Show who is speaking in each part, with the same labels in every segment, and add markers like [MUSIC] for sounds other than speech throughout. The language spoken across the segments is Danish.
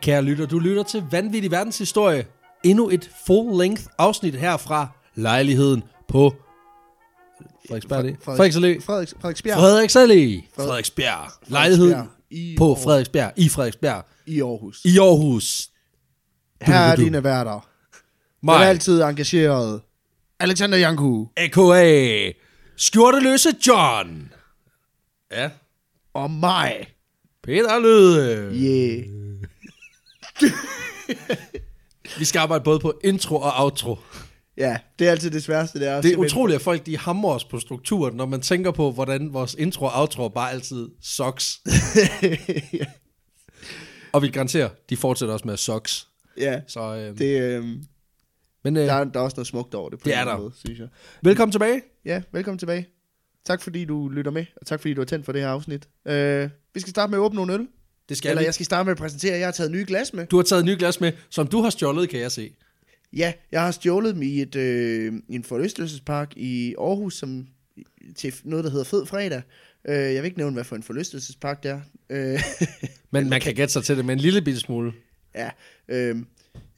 Speaker 1: kære lytter. Du lytter til Vanvittig Verdenshistorie. Endnu et full-length afsnit her fra lejligheden på Frederiksberg. Allé. Frederiks Allé.
Speaker 2: Frederik, Frederiksbjerg
Speaker 1: Frederiks Allé. Frederiksberg. Lejligheden
Speaker 2: i,
Speaker 1: på
Speaker 2: Aar-
Speaker 1: Frederiksberg i Frederiksberg
Speaker 2: i Aarhus.
Speaker 1: i Aarhus.
Speaker 2: Her er
Speaker 1: Du, du, du.
Speaker 2: dine værter. Den
Speaker 1: Mig,
Speaker 2: altid engageret. Alexander Janku
Speaker 1: a.k.a. Skjorteløse John. Ja,
Speaker 2: og mig.
Speaker 1: Peter Løde.
Speaker 2: Yeah.
Speaker 1: Vi skal arbejde både på intro og outro.
Speaker 2: Ja, det er altid det sværeste, det er.
Speaker 1: Det er utroligt, at folk de hamrer os på strukturen, når man tænker på, hvordan vores intro og outro bare altid
Speaker 2: [LAUGHS]
Speaker 1: socks. og vi garanterer, de fortsætter også med at socks.
Speaker 2: ja,
Speaker 1: Så, øh, det,
Speaker 2: det, øhm,
Speaker 1: men øh,
Speaker 2: der, er, der er også noget smukt over det. På
Speaker 1: Det
Speaker 2: en
Speaker 1: er
Speaker 2: eller anden
Speaker 1: der.
Speaker 2: Måde, synes jeg.
Speaker 1: velkommen tilbage.
Speaker 2: Ja, velkommen tilbage. Tak fordi du lytter med, og tak fordi du er tændt for det her afsnit. Øh, vi skal starte med at åbne nogle øl.
Speaker 1: Det skal
Speaker 2: Eller
Speaker 1: vi.
Speaker 2: jeg skal starte med at præsentere, at jeg har taget nye glas med.
Speaker 1: Du har taget nye glas med, som du har stjålet, kan jeg se.
Speaker 2: Ja, jeg har stjålet dem i, et, øh, i en forlystelsespark i Aarhus, som til noget, der hedder Fed Fredag. Øh, jeg vil ikke nævne, hvad for en forlystelsespark det er. Øh, [LAUGHS]
Speaker 1: Men man kan gætte sig til det med en lille bitte smule.
Speaker 2: ja, øh,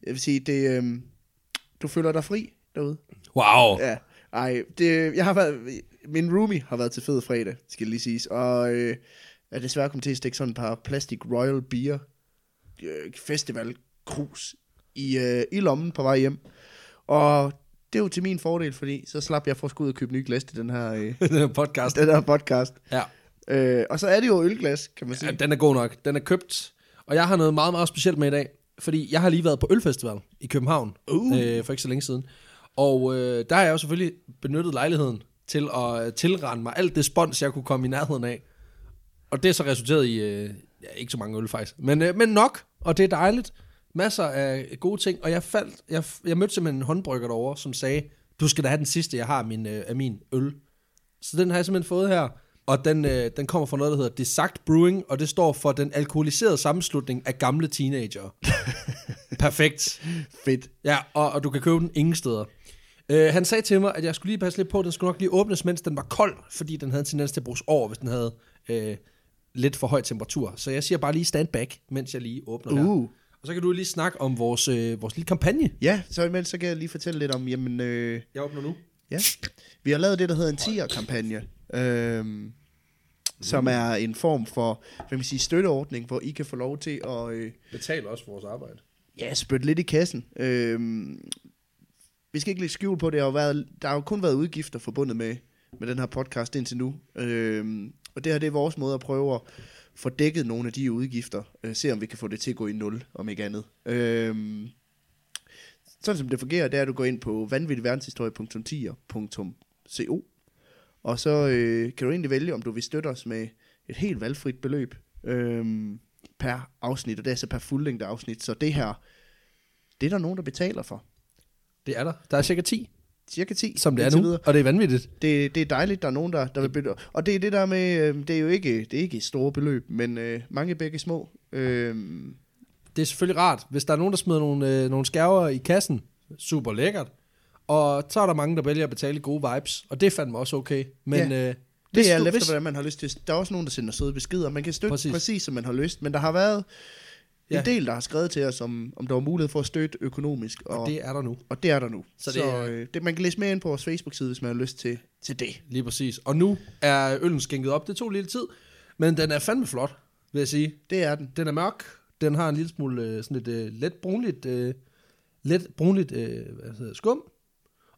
Speaker 2: jeg vil sige, det, øh, du føler dig fri derude.
Speaker 1: Wow.
Speaker 2: Ja, ej, det, jeg har været, min roomie har været til Fed Fredag, skal lige siges, og øh, er desværre kommet til at stikke sådan et par plastic royal beer øh, festival krus i, øh, i lommen på vej hjem. Og det er jo til min fordel, fordi så slap jeg for at skulle ud og købe nye glas til den her, øh,
Speaker 1: [LAUGHS] den her [LAUGHS] podcast.
Speaker 2: den her podcast.
Speaker 1: Ja.
Speaker 2: Øh, og så er det jo ølglas, kan man
Speaker 1: ja,
Speaker 2: sige.
Speaker 1: den er god nok. Den er købt. Og jeg har noget meget, meget specielt med i dag. Fordi jeg har lige været på Ølfestival i København
Speaker 2: Uh.
Speaker 1: øh, for ikke så længe siden. Og øh, der har jeg jo selvfølgelig benyttet lejligheden til at øh, tilrende mig alt det spons, jeg kunne komme i nærheden af. Og det er så resulteret i øh, ja, ikke så mange øl faktisk, men, øh, men nok, og det er dejligt. Masser af gode ting, og jeg faldt, jeg, jeg mødte simpelthen en håndbrygger derovre, som sagde, du skal da have den sidste, jeg har af min, øh, af min øl. Så den har jeg simpelthen fået her, og den, øh, den kommer fra noget, der hedder Desagt Brewing, og det står for den alkoholiserede sammenslutning af gamle teenager. Perfekt.
Speaker 2: Fedt.
Speaker 1: Ja, og, og du kan købe den ingen steder. Øh, han sagde til mig, at jeg skulle lige passe lidt på, den skulle nok lige åbnes, mens den var kold, fordi den havde en tendens til at bruges over, hvis den havde øh, lidt for høj temperatur. Så jeg siger bare lige stand back, mens jeg lige åbner uh. her.
Speaker 2: Uh.
Speaker 1: Og så kan du lige snakke om vores, øh, vores lille kampagne.
Speaker 2: Ja, så imens så kan jeg lige fortælle lidt om, jamen, øh,
Speaker 1: Jeg åbner nu.
Speaker 2: Ja. Vi har lavet det, der hedder en 10'er-kampagne, øhm, som er en form for hvad kan man sige, støtteordning, hvor I kan få lov til at øh,
Speaker 1: Betaler også for vores arbejde.
Speaker 2: ja, spytte lidt i kassen. Øhm, vi skal ikke lige skjule på, det har jo været, der har jo kun været udgifter forbundet med, med den her podcast indtil nu. Øhm, og det her det er vores måde at prøve at få dækket nogle af de udgifter. Øh, se om vi kan få det til at gå i nul, om ikke andet. Øhm, sådan som det fungerer, det er, at du går ind på vanvittigverdenshistorie.10.co og så øh, kan du egentlig vælge, om du vil støtte os med et helt valgfrit beløb øhm, per afsnit, og det er altså per fuldlængde afsnit. Så det her, det er der nogen, der betaler for.
Speaker 1: Det er der. Der er cirka 10,
Speaker 2: Cirka 10,
Speaker 1: som det er
Speaker 2: indtil
Speaker 1: nu, og det er vanvittigt.
Speaker 2: det, det er dejligt, der er nogen, der, der vil bytte. Og det er det der med, øh, det er jo ikke, det er ikke store beløb, men øh, mange begge små. Øh,
Speaker 1: Det er selvfølgelig rart, hvis der er nogen, der smider nogle, øh, nogle skærver i kassen. Super lækkert. Og så er der mange, der vælger at betale i gode vibes, og det fandt mig også okay. Men øh, hvis
Speaker 2: det er
Speaker 1: du-
Speaker 2: alt
Speaker 1: hvis-
Speaker 2: efter, hvordan man har lyst til. Der er også nogen, der sender søde beskeder. Man kan støtte
Speaker 1: Præcis.
Speaker 2: præcis, præcis som man har lyst, men der har været ja.
Speaker 1: Ja.
Speaker 2: en del, der har skrevet til os, om, om der var mulighed for at støtte økonomisk, og, og, det,
Speaker 1: det er der nu.
Speaker 2: og det er der nu.
Speaker 1: Så
Speaker 2: Så,
Speaker 1: det
Speaker 2: det,
Speaker 1: er-
Speaker 2: så øh, det, man kan læse mere ind på vores Facebook-side, hvis man har lyst til, til det.
Speaker 1: Lige præcis. Og nu er øllen skænket op. Det tog lidt tid, men den er fandme flot, vil jeg sige.
Speaker 2: Det er den.
Speaker 1: Den er mørk. Den har en lille smule øh, sådan et øh, let brunligt, øh, let brunligt øh, hvad hedder, det, skum.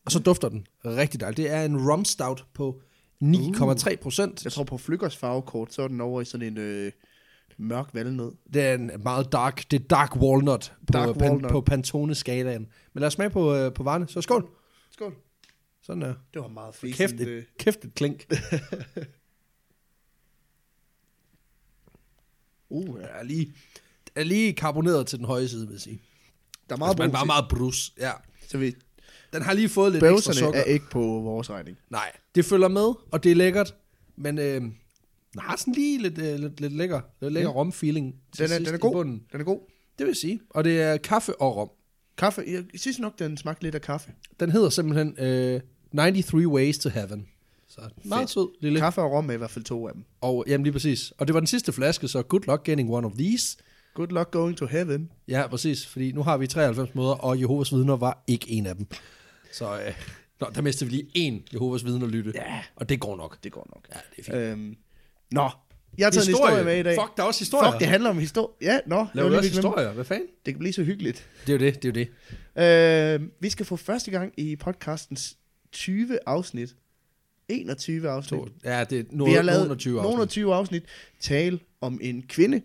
Speaker 1: Og så dufter den rigtig dejligt. Det er en rum stout på 9,3 procent.
Speaker 2: Uh, Jeg tror på Flykkers farvekort, så er den over i sådan en øh, mørk valnød.
Speaker 1: Det er en meget dark, det er dark walnut på,
Speaker 2: Dark
Speaker 1: pan,
Speaker 2: walnut.
Speaker 1: på Pantone-skalaen. Men lad os smage på, øh, på varerne. Så skål.
Speaker 2: Skål.
Speaker 1: Sådan der.
Speaker 2: Det var meget fint. Øh,
Speaker 1: Kæft et, kæft et klink. [LAUGHS]
Speaker 2: Uh, ja.
Speaker 1: Jeg er lige, er lige karboneret til den høje side, vil jeg sige.
Speaker 2: Der er
Speaker 1: Meget
Speaker 2: meget
Speaker 1: altså, man er meget,
Speaker 2: altså,
Speaker 1: meget brus. Ja.
Speaker 2: Så vi,
Speaker 1: Den har lige fået lidt ekstra
Speaker 2: bøvserne
Speaker 1: sukker.
Speaker 2: er ikke på vores regning.
Speaker 1: Nej, det følger med, og det er lækkert. Men øh, den har sådan lige lidt, øh, lidt, lidt lækker, lidt lækker rom-feeling til
Speaker 2: Den er,
Speaker 1: sidst
Speaker 2: den er
Speaker 1: i
Speaker 2: god.
Speaker 1: bunden.
Speaker 2: Den er god.
Speaker 1: Det vil jeg sige. Og det er kaffe og rom.
Speaker 2: Kaffe, jeg synes nok, den smagte lidt af kaffe.
Speaker 1: Den hedder simpelthen øh, 93 Ways to Heaven. Så meget sød lille.
Speaker 2: Kaffe og rom er i hvert fald to af dem.
Speaker 1: Og, jamen lige præcis. Og det var den sidste flaske, så good luck getting one of these.
Speaker 2: Good luck going to heaven.
Speaker 1: Ja, præcis, fordi nu har vi 93 måder, og Jehovas vidner var ikke en af dem. Så øh, nå, der mistede vi lige en Jehovas vidner lytte,
Speaker 2: Ja.
Speaker 1: og det går nok.
Speaker 2: Det går nok.
Speaker 1: Ja, det er fint.
Speaker 2: Øhm, nå, jeg har taget historie. en historie med i dag.
Speaker 1: Fuck, der er også historier.
Speaker 2: Fuck det handler om historie. Ja, nå. det var
Speaker 1: Laver vi
Speaker 2: lige,
Speaker 1: også
Speaker 2: vi glemte.
Speaker 1: historier? Hvad fanden?
Speaker 2: Det kan blive så hyggeligt.
Speaker 1: Det er jo det, det er jo det.
Speaker 2: Øh, vi skal for første gang i podcastens 20 afsnit, 21 afsnit,
Speaker 1: To, ja, det er
Speaker 2: vi
Speaker 1: noget,
Speaker 2: har lavet
Speaker 1: nogen og 20
Speaker 2: nogen og
Speaker 1: afsnit.
Speaker 2: 20 afsnit, tale om en kvinde.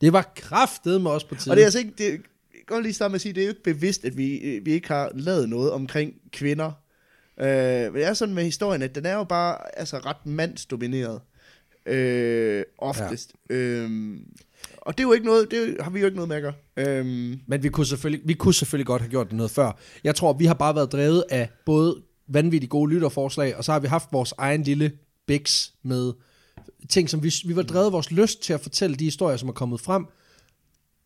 Speaker 1: Det var kraftet med os på tiden.
Speaker 2: Og det er altså ikke, det, jeg kan godt lige starte med at sige, det er jo ikke bevidst, at vi, øh, vi ikke har lavet noget omkring kvinder. Øh, men det er sådan med historien, at den er jo bare altså, ret mandsdomineret. Øh, oftest. Ja. Øhm, og det er jo ikke noget, det har vi jo ikke noget med at gøre. Øhm,
Speaker 1: Men vi kunne, selvfølgelig, vi kunne selvfølgelig godt have gjort det noget før. Jeg tror, vi har bare været drevet af både vanvittigt gode lytterforslag, og så har vi haft vores egen lille biks med ting, som vi, vi var drevet af vores lyst til at fortælle de historier, som er kommet frem.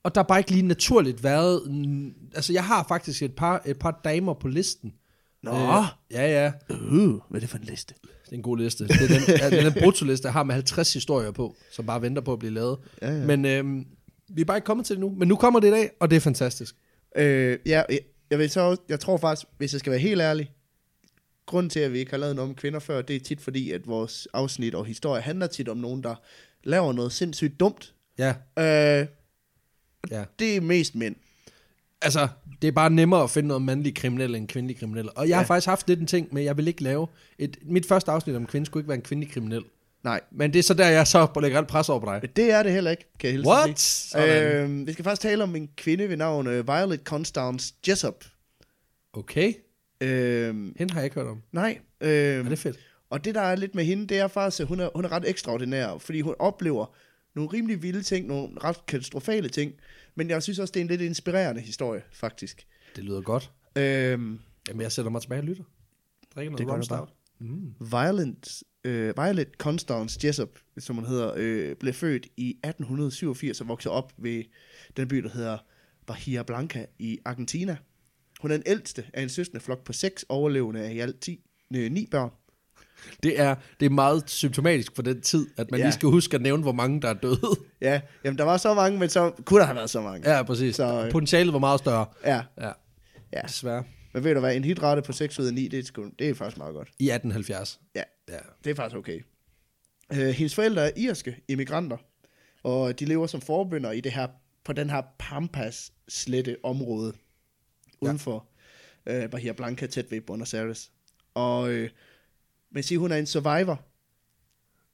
Speaker 1: Og der har bare ikke lige naturligt været... mm, Altså, jeg har faktisk et par, et par damer på listen. Øh,
Speaker 2: Nå.
Speaker 1: ja, ja.
Speaker 2: øh, hvad er det for en liste?
Speaker 1: Det er en god liste. Det er den, ja, det er den brutoliste, jeg har med 50 historier på, som bare venter på at blive lavet.
Speaker 2: Ja, ja.
Speaker 1: Men øhm, vi er bare ikke kommet til det nu. Men nu kommer det i dag, og det er fantastisk.
Speaker 2: Øh, ja, jeg, jeg, vil så, også- jeg tror faktisk, hvis jeg skal være helt ærlig, grunden til, at vi ikke har lavet noget om kvinder før, det er tit fordi, at vores afsnit og historie handler tit om nogen, der laver noget sindssygt dumt.
Speaker 1: Ja,
Speaker 2: Øh,
Speaker 1: ja.
Speaker 2: det er mest mænd.
Speaker 1: Altså, det er bare nemmere at finde noget mandlig kriminel end kvindelig kriminel. Og jeg har
Speaker 2: Ja.
Speaker 1: faktisk haft lidt en ting med, at jeg vil ikke lave... Et, mit første afsnit om kvinden skulle ikke være en kvindelig kriminel.
Speaker 2: Nej,
Speaker 1: Men det er så der, jeg så lægger alt pres over på dig.
Speaker 2: men det er det heller ikke, kan jeg hilse
Speaker 1: What?
Speaker 2: at sige.
Speaker 1: Sådan.
Speaker 2: Øh, vi skal faktisk tale om en kvinde ved navn øh, Violet Constance Jessup.
Speaker 1: Okay,
Speaker 2: Øh,
Speaker 1: hende har jeg ikke hørt om.
Speaker 2: nej. Øh,
Speaker 1: Er det fedt?
Speaker 2: Og det, der er lidt med hende, det er faktisk, at hun er, hun er ret ekstraordinær, fordi hun oplever nogle rimelig vilde ting, nogle ret katastrofale ting, men jeg synes også, det er en lidt inspirerende historie, faktisk.
Speaker 1: Det lyder godt.
Speaker 2: Øhm,
Speaker 1: Jamen, jeg sætter mig tilbage og lytter. Drikker
Speaker 2: Det
Speaker 1: noget
Speaker 2: gør
Speaker 1: rum
Speaker 2: du bare.
Speaker 1: stout. Mm.
Speaker 2: Violet, øh, Violet Constance Jessup, som hun hedder, øh, blev født i 1887 og voksede op ved den by, der hedder Bahia Blanca i Argentina. Hun er den ældste af en søskende flok på seks overlevende af i alt ti, øh, ni børn.
Speaker 1: Det, er, det er meget symptomatisk for den tid, at man
Speaker 2: Ja.
Speaker 1: lige skal huske at nævne, hvor mange der er døde.
Speaker 2: Ja, jamen der var så mange, men så kunne der have været så mange.
Speaker 1: Ja, præcis.
Speaker 2: Så,
Speaker 1: Så,
Speaker 2: øh,
Speaker 1: Potentialet var meget større.
Speaker 2: ja.
Speaker 1: Ja.
Speaker 2: Ja.
Speaker 1: Desværre.
Speaker 2: Men ved du hvad, en hitrate på 6 ud af 9, det er, sgu, det er faktisk meget godt.
Speaker 1: I 1870.
Speaker 2: Ja,
Speaker 1: Ja.
Speaker 2: det er faktisk okay. Øh, hendes forældre er irske immigranter, og de lever som forbønder i det her, på den her Pampas slette område, uden for øh, Bahia Blanca, tæt ved Buenos Aires. Og øh, man siger, hun er en survivor,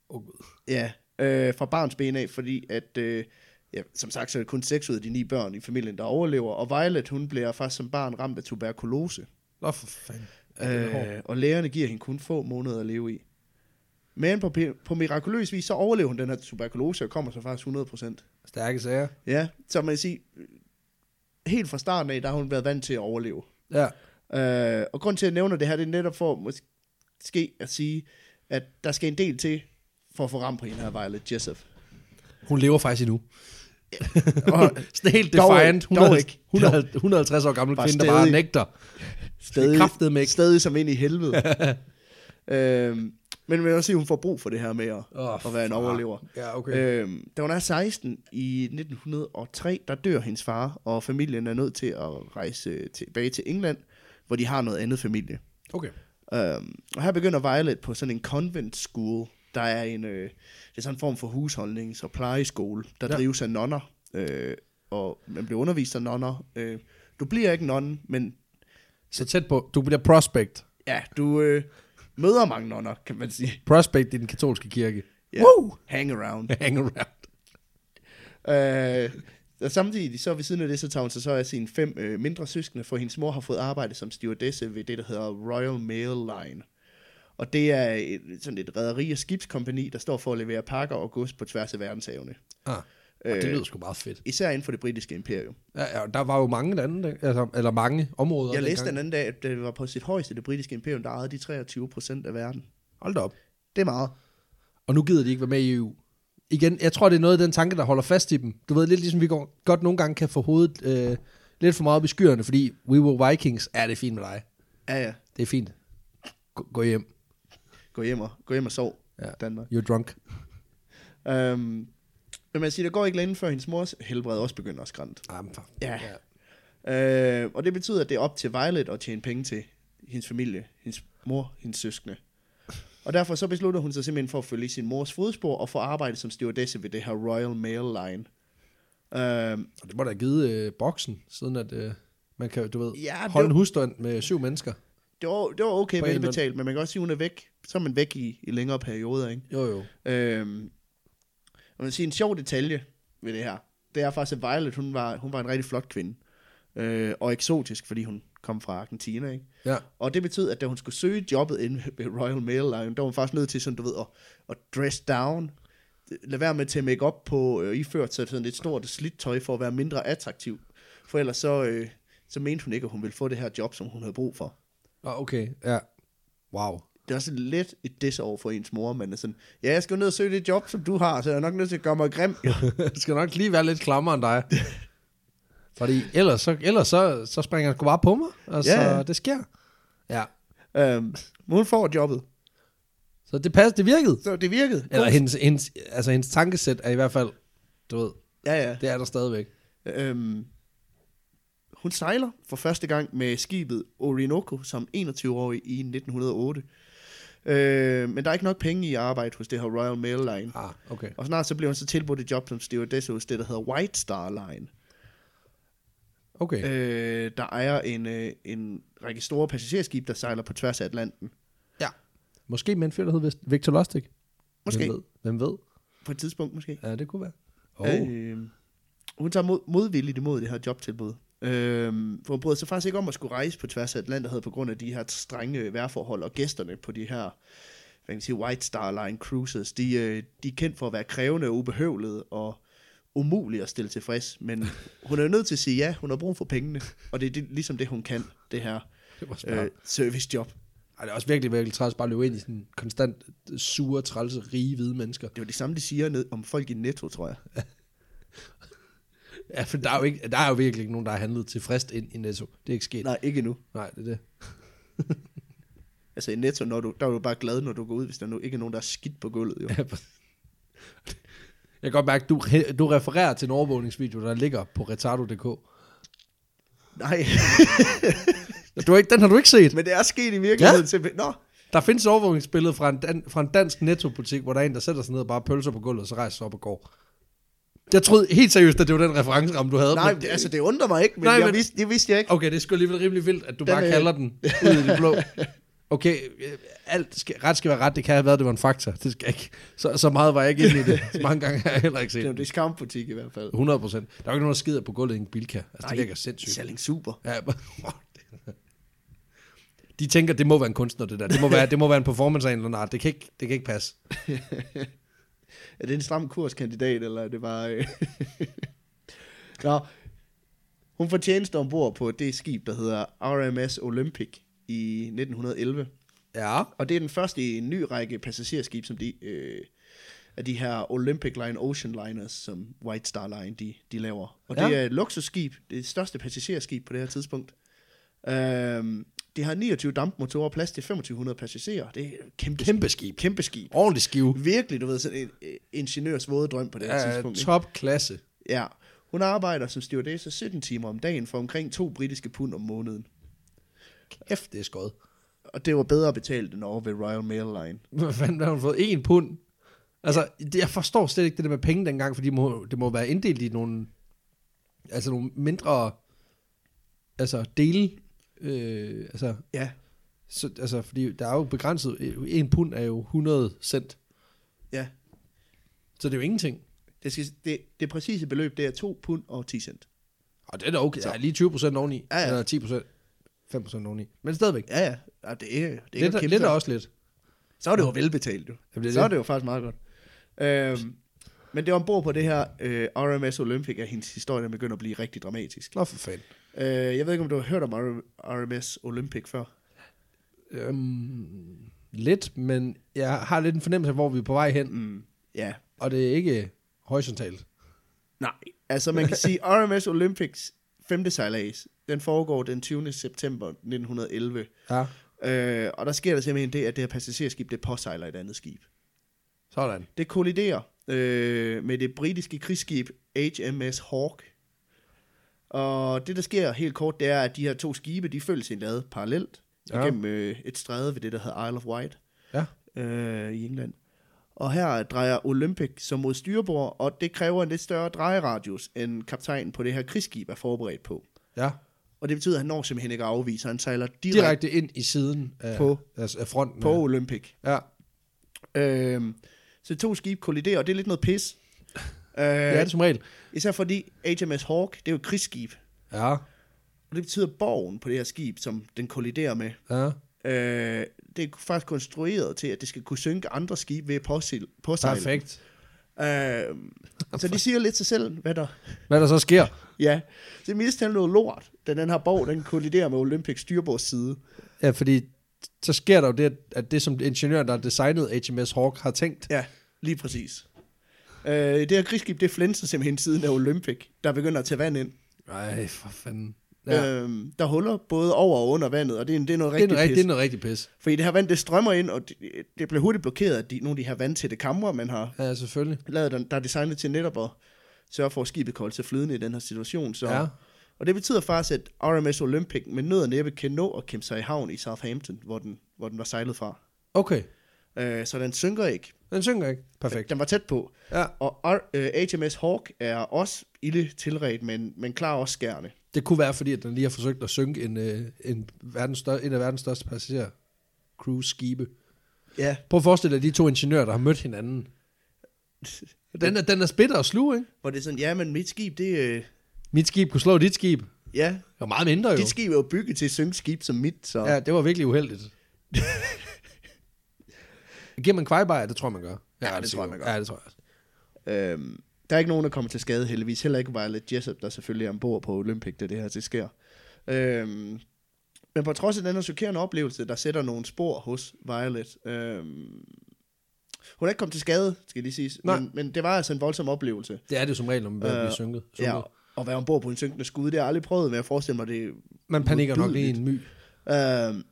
Speaker 1: Oh, Gud.
Speaker 2: Ja, øh, fra barns ben af, fordi at, øh, ja, som sagt, så er det kun seks ud af de ni børn i familien, der overlever. Og Violet, hun bliver faktisk som barn ramt af tuberkulose.
Speaker 1: Nå, for fanden. Ja, det er hårdt.
Speaker 2: Øh, og lægerne giver hende kun få måneder at leve i. Men på, på mirakuløs vis, så overlever hun den her tuberkulose og kommer så faktisk 100%.
Speaker 1: Stærke sager.
Speaker 2: Ja, så man kan sige, helt fra starten af, der har hun været vant til at overleve.
Speaker 1: Ja.
Speaker 2: Øh, og grund til, at jeg nævner det her, det er netop for måske at sige, at der skal en del til for at få ramt på hende her, Violet Jessup.
Speaker 1: Hun lever faktisk endnu.
Speaker 2: Og
Speaker 1: Sådan helt
Speaker 2: Dog
Speaker 1: defiant.
Speaker 2: ikke.
Speaker 1: Hun
Speaker 2: Dog
Speaker 1: er
Speaker 2: ikke.
Speaker 1: 150, 150 år gammel
Speaker 2: Bare
Speaker 1: kvinde, der bare
Speaker 2: stadig.
Speaker 1: nægter.
Speaker 2: stadig,
Speaker 1: kraftedeme ikke.
Speaker 2: stadig som ind i helvede.
Speaker 1: [LAUGHS]
Speaker 2: øhm, men man vil også sige, at hun får brug for det her med at,
Speaker 1: Åh,
Speaker 2: oh, at være en
Speaker 1: far.
Speaker 2: overlever.
Speaker 1: Ja, okay. Øh,
Speaker 2: Okay. Øhm, da hun er 16 i 1903, der dør hendes far, og familien er nødt til at rejse tilbage til England, hvor de har noget andet familie.
Speaker 1: okay.
Speaker 2: Øhm, og her begynder Violet på sådan en convent school, der er en, øh, det er sådan en form for husholdnings- og plejeskole, der
Speaker 1: Ja.
Speaker 2: ja. drives af nonner, øh, og man bliver undervist af nonner. Øh, du bliver ikke nonne, men
Speaker 1: Så tæt på. Du bliver prospect.
Speaker 2: ja, du øh, møder mange nonner, kan man sige.
Speaker 1: Prospect i den katolske kirke.
Speaker 2: Ja.
Speaker 1: Woo! [LAUGHS]
Speaker 2: Hang around.
Speaker 1: Hang around.
Speaker 2: Øh, og samtidig, så ved siden af det, så tager hun sig så af sine fem øh, mindre søskende, for hendes mor har fået arbejde som stewardesse ved det, der hedder Royal Mail Line. Og det er et, sådan et rederi- og skibskompani, der står for at levere pakker og gods på tværs af verdenshavene.
Speaker 1: Ah, øh, det lyder sgu meget fedt.
Speaker 2: Især inden for det britiske imperium.
Speaker 1: Ja, ja, der var jo mange lande, der- altså, eller mange områder.
Speaker 2: Jeg læste
Speaker 1: dengang.
Speaker 2: den anden dag, at det var på sit højeste, det britiske imperium, der ejede de 23 procent af verden.
Speaker 1: Hold da op.
Speaker 2: Det er meget.
Speaker 1: Og nu gider de ikke være med i EU. Igen, jeg tror, det er noget af den tanke, der holder fast i dem. Du ved, lidt ligesom vi går, godt nogle gange kan få hovedet øh, lidt for meget op i skyerne, fordi we were vikings. Ja, det er fint med dig.
Speaker 2: Ja, ja.
Speaker 1: Det er fint. Gå, gå hjem.
Speaker 2: Gå hjem og, gå hjem og sov,
Speaker 1: Ja.
Speaker 2: ja. Danmark.
Speaker 1: You're drunk.
Speaker 2: Øhm, Men man siger, der går ikke længe før hendes mors helbred også begynder at skrænte.
Speaker 1: Ah, men for,
Speaker 2: Ja. Øh, og det betyder, at det er op til Violet at tjene penge til hendes familie, hendes mor, hendes søskende. Og derfor så beslutter hun sig simpelthen for at følge i sin mors fodspor og få arbejde som stewardesse ved det her Royal Mail Line. Øh,
Speaker 1: Og det må da have givet øh, boksen, siden at øh, man kan, du ved,
Speaker 2: Ja,
Speaker 1: ja,
Speaker 2: det
Speaker 1: holde
Speaker 2: var-
Speaker 1: en husstand med syv mennesker.
Speaker 2: det, var, det var okay
Speaker 1: På en
Speaker 2: velbetalt, men man kan også sige, at hun er væk. Så er man væk i, i længere perioder, ikke?
Speaker 1: Jo, jo.
Speaker 2: Øhm, og man siger, en sjov detalje ved det her, det er faktisk, at Violet, hun var, hun var en rigtig flot kvinde. Øh, og eksotisk, fordi hun kom fra Argentina, ikke?
Speaker 1: Ja.
Speaker 2: Og det betød, at da hun skulle søge jobbet inde [LAUGHS] ved Royal Mail Line, der var hun faktisk nødt til sådan, du ved, at, at dress down. Lad være med at tage make op på, øh, iført sig sådan lidt stort og slidt tøj for at være mindre attraktiv. For ellers så, øh, så mente hun ikke, at hun ville få det her job, som hun havde brug for.
Speaker 1: Nå, okay, ja. Wow. [LAUGHS]
Speaker 2: Det er også lidt et diss over for ens mor, men er sådan, ja, jeg skal jo ned og søge det job, som du har, så jeg er nok nødt til at gøre mig grim. jo."
Speaker 1: Jeg skal nok lige være lidt klammere end dig. Fordi ellers, så, ellers så, så springer han sgu bare på mig. Altså,
Speaker 2: Ja.
Speaker 1: ja. det sker. Ja.
Speaker 2: øhm, men hun får jobbet,
Speaker 1: Så det passer, det virkede.
Speaker 2: så det virkede.
Speaker 1: Eller hendes, hendes, altså, hendes tankesæt er i hvert fald, du ved,
Speaker 2: Ja, ja.
Speaker 1: det er der stadigvæk.
Speaker 2: Øhm, hun sejler for første gang med skibet Orinoco som 21-årig i 1908. Øh, men der er ikke nok penge i arbejde hos det her Royal Mail Line.
Speaker 1: Ah, okay.
Speaker 2: Og snart så bliver hun så tilbudt et job som stewardesse hos det, der hedder White Star Line.
Speaker 1: Okay.
Speaker 2: Øh, der ejer en, øh, en række store passagerskib, der sejler på tværs af Atlanten.
Speaker 1: Ja. Måske med en fyr, der hed Vest- Victor Lustig.
Speaker 2: Måske.
Speaker 1: Hvem ved? Hvem ved?
Speaker 2: På et tidspunkt måske.
Speaker 1: Ja, det kunne være. Oh. Øh.
Speaker 2: Øh, hun tager mod, modvilligt imod det her jobtilbud. Øh, for hun bryder sig faktisk ikke om at skulle rejse på tværs af Atlanterhavet på grund af de her strenge vejrforhold, og gæsterne på de her hvad kan man sige, White Star Line cruises, de, øh, de er kendt for at være krævende og ubehøvlede og umulige at stille tilfreds. Men hun er jo nødt til at sige ja, hun har brug for pengene, og det er det, ligesom det, hun kan, det her
Speaker 1: Det var smart.
Speaker 2: øh, servicejob.
Speaker 1: Ej, det er også virkelig, virkelig træls bare at løbe ind i sådan konstant sure, trælse, rige, hvide mennesker.
Speaker 2: Det var det samme, de siger ned om folk i Netto, tror jeg.
Speaker 1: Ja, for der er jo, ikke, der er jo virkelig ikke nogen, der har handlet tilfreds ind i Netto. Det er ikke sket. Nej,
Speaker 2: Nej, ikke nu.
Speaker 1: Nej det [LAUGHS] er det.
Speaker 2: Altså i Netto, når du, der er du bare glad, når du går ud, hvis der nu ikke er nogen, der er skidt på gulvet. Jo.
Speaker 1: Ja, præcis. Jeg kan godt mærke, du, re- du refererer til en overvågningsvideo, der ligger på retardo.dk.
Speaker 2: Nej. [LAUGHS]
Speaker 1: Du har ikke, den har du ikke set.
Speaker 2: Men det er sket i virkeligheden ja.
Speaker 1: Ja.
Speaker 2: simpelthen. Nå,
Speaker 1: Der findes et overvågningsbillede fra en, dan- fra en dansk nettobutik, hvor der er en, der sætter sig ned og bare pølser på gulvet, og så rejser sig op og går. Jeg troede helt seriøst, at det var den referenceramme, du havde.
Speaker 2: nej,
Speaker 1: men-
Speaker 2: det, altså det undrer mig ikke, men,
Speaker 1: Nej,
Speaker 2: Nej, jeg
Speaker 1: men-
Speaker 2: vidste, det vidste jeg ikke.
Speaker 1: Okay, det er sgu alligevel rimelig vildt, at du
Speaker 2: Den
Speaker 1: bare
Speaker 2: er-
Speaker 1: kalder den ud i det blå. Okay, øh, alt skal, ret skal være ret. Det kan have været, det var en faktor. Det skal jeg ikke. Så, så meget var jeg ikke inde i det. Så mange gange har jeg heller ikke
Speaker 2: Det
Speaker 1: set
Speaker 2: er jo
Speaker 1: den.
Speaker 2: en discountbutik i hvert fald.
Speaker 1: 100 procent. Der er jo ikke nogen, der skider på gulvet i en bilka. Altså, det virker sindssygt.
Speaker 2: Selling Super.
Speaker 1: Ja, [LAUGHS] wow, det- de tænker, det må være en kunstner, det der. Det må være, det må være en performance af en eller anden art. Det kan ikke, det kan ikke passe.
Speaker 2: Er det en stram kurskandidat, eller er det bare... Øh... [LAUGHS] Nå, hun får tjeneste ombord på det skib, der hedder RMS Olympic i 1911.
Speaker 1: Ja.
Speaker 2: Og det er den første i en ny række passagerskib, som de, øh, af de her Olympic Line Ocean Liners, som White Star Line, de, de laver. Og ja.
Speaker 1: Ja.
Speaker 2: det er et luksusskib, det største passagerskib på det her tidspunkt. Øhm, det har 29 dampmotorer og plads til 2500 passagerer. Det er et kæmpe,
Speaker 1: Kæmpe skib.
Speaker 2: kæmpe skib.
Speaker 1: Ordentlig skive.
Speaker 2: Virkelig, du ved, sådan en øh, ingeniørs våde drøm på det her
Speaker 1: Ja,
Speaker 2: tidspunkt. ikke?
Speaker 1: Øh, top klasse.
Speaker 2: Ja. Hun arbejder som stewardesse 17 timer om dagen for omkring to britiske pund om måneden.
Speaker 1: Kæft, det er skød.
Speaker 2: Og det var bedre betalt end over ved Royal Mail Line.
Speaker 1: Hvad fanden har hun fået? En pund? Altså, det, jeg forstår slet ikke det der med penge dengang, fordi det må, det må være inddelt i nogle, altså nogle mindre altså dele. Øh, altså,
Speaker 2: Ja,
Speaker 1: så, altså, fordi der er jo begrænset. øh, En pund er jo 100 cent.
Speaker 2: ja.
Speaker 1: Så det er jo ingenting.
Speaker 2: Det, skal, det, det præcise beløb, det er 2 pund og 10 cent.
Speaker 1: Og det er da okay. Der er lige 20 procent oveni.
Speaker 2: Ja, ja.
Speaker 1: Eller 10 procent. 5 procent oveni. Men stadigvæk.
Speaker 2: Ja, ja. ja det, er, det er
Speaker 1: Lidt,
Speaker 2: ikke
Speaker 1: lidt er
Speaker 2: kæmpe.
Speaker 1: også lidt.
Speaker 2: Så er det jo velbetalt, jo.
Speaker 1: Jamen, det er
Speaker 2: så
Speaker 1: det.
Speaker 2: er det jo faktisk meget godt. Øhm, men det er ombord på det her øh, RMS Olympic, at hendes historie begynder at blive rigtig dramatisk.
Speaker 1: Nå for fanden.
Speaker 2: Øh, jeg ved ikke, om du har hørt om R- RMS Olympic før.
Speaker 1: Øhm, lidt, men jeg har lidt en fornemmelse af, hvor vi er på vej hen.
Speaker 2: Mm. Ja.
Speaker 1: Og det er ikke horisontalt.
Speaker 2: Nej. Altså, man kan
Speaker 1: [LAUGHS]
Speaker 2: sige, RMS Olympics femte sejlads, den foregår den 20. september 1911.
Speaker 1: Ja.
Speaker 2: Øh, og der sker der simpelthen det, at det her passagerskib, det påsejler et andet skib.
Speaker 1: Sådan.
Speaker 2: Det kolliderer øh, med det britiske krigsskib HMS Hawk. Og det, der sker helt kort, det er, at de her to skibe, de følges i en lade parallelt
Speaker 1: Ja.
Speaker 2: ja. igennem øh, et stræde ved det, der hedder Isle of Wight
Speaker 1: Ja.
Speaker 2: øh, i England. Og her drejer Olympic som mod styrbord, og det kræver en lidt større drejeradius, end kaptajnen på det her krigsskib er forberedt på.
Speaker 1: Ja.
Speaker 2: Og det betyder, at han når simpelthen ikke at afvise, han sejler direkte, direkte
Speaker 1: Direkte ind i siden af,
Speaker 2: På-
Speaker 1: altså af fronten.
Speaker 2: på Olympic.
Speaker 1: Ja.
Speaker 2: Øhm, så to skibe kolliderer, og det er lidt noget pis. Øh,
Speaker 1: ja, det er
Speaker 2: ja.
Speaker 1: som regel.
Speaker 2: Især fordi HMS Hawk, det er jo et krigsskib.
Speaker 1: Ja.
Speaker 2: Og det betyder borgen på det her skib, som den kolliderer med.
Speaker 1: ja.
Speaker 2: Øh, det er faktisk konstrueret til, at det skal kunne synke andre skibe ved at påsejle. påsejle.
Speaker 1: Perfekt.
Speaker 2: Øh, så det siger lidt sig selv, hvad der...
Speaker 1: Hvad der så sker.
Speaker 2: Ja, det er mest til noget lort, da den her borg, den kolliderer med Olympics styrbords side.
Speaker 1: Ja, fordi så sker der jo det, at- at det som ingeniøren, der har designet HMS Hawk, har tænkt.
Speaker 2: Ja, lige præcis. Øh, det her krigsskib, det flænser simpelthen siden af Olympic, der begynder at tage vand ind.
Speaker 1: Nej, for fanden. Ja. Øh,
Speaker 2: Ja. Øhm, der er huller både over og under vandet, og det er, det er noget
Speaker 1: det, er
Speaker 2: rigtig,
Speaker 1: noget,
Speaker 2: rigtig
Speaker 1: rigtig,
Speaker 2: pis.
Speaker 1: det er noget rigtig pis.
Speaker 2: Fordi det her vand, det strømmer ind, og det, det bliver hurtigt blokeret af de, nogle af de her vandtætte kamre, man har
Speaker 1: Ja, selvfølgelig.
Speaker 2: lavet, der, der er designet til netop at sørge for, at skibet kan holde sig flydende i den her situation. Så.
Speaker 1: Ja.
Speaker 2: Og det betyder faktisk, at RMS Olympic med nød og næppe kan nå at kæmpe sig i havn i Southampton, hvor den, hvor den var sejlet fra.
Speaker 1: Okay.
Speaker 2: Øh, så den synker ikke.
Speaker 1: Den synger ikke. Perfekt.
Speaker 2: Den var tæt på.
Speaker 1: Ja.
Speaker 2: Og R, øh, HMS Hawk er også ilde tilret, men, men klar også skærende.
Speaker 1: Det kunne være, fordi at den lige har forsøgt at synke en, øh, en, verdens større, en af verdens største passager cruise-skibe.
Speaker 2: Ja,
Speaker 1: Prøv at forestille dig de to ingeniører, der har mødt hinanden. Den er, den er spitter og sluge, ikke?
Speaker 2: hvor det er sådan, ja, men mit skib, det, øh,
Speaker 1: Mit skib kunne slå dit skib. Det
Speaker 2: ja,
Speaker 1: var meget mindre jo.
Speaker 2: dit skib er jo bygget til at synke skib som mit, så...
Speaker 1: Ja, det var virkelig uheldigt. Giver man kvejbejer? Det tror jeg, man gør. Jeg er
Speaker 2: Ja,
Speaker 1: ret
Speaker 2: det tror jeg,
Speaker 1: sikker.
Speaker 2: man gør.
Speaker 1: Ja, det tror jeg også.
Speaker 2: Øhm, der er ikke nogen, der kommer til skade heldigvis. Heller ikke Violet Jessup, der selvfølgelig er ombord på Olympic, da det her det sker. Øhm, men på trods af den her chokerende oplevelse, der sætter nogle spor hos Violet. Øhm, hun er ikke kommet til skade, skal lige siges.
Speaker 1: Nej.
Speaker 2: Men, men, det var altså en voldsom oplevelse.
Speaker 1: Det er det jo som regel, når man øh,
Speaker 2: Øh,
Speaker 1: bliver synket.
Speaker 2: Ja,
Speaker 1: sunket.
Speaker 2: og være ombord på en synkende skud, det har jeg aldrig prøvet, men jeg forestiller mig det.
Speaker 1: Man panikker nok lige i
Speaker 2: modbydeligt.
Speaker 1: en my.
Speaker 2: Øhm,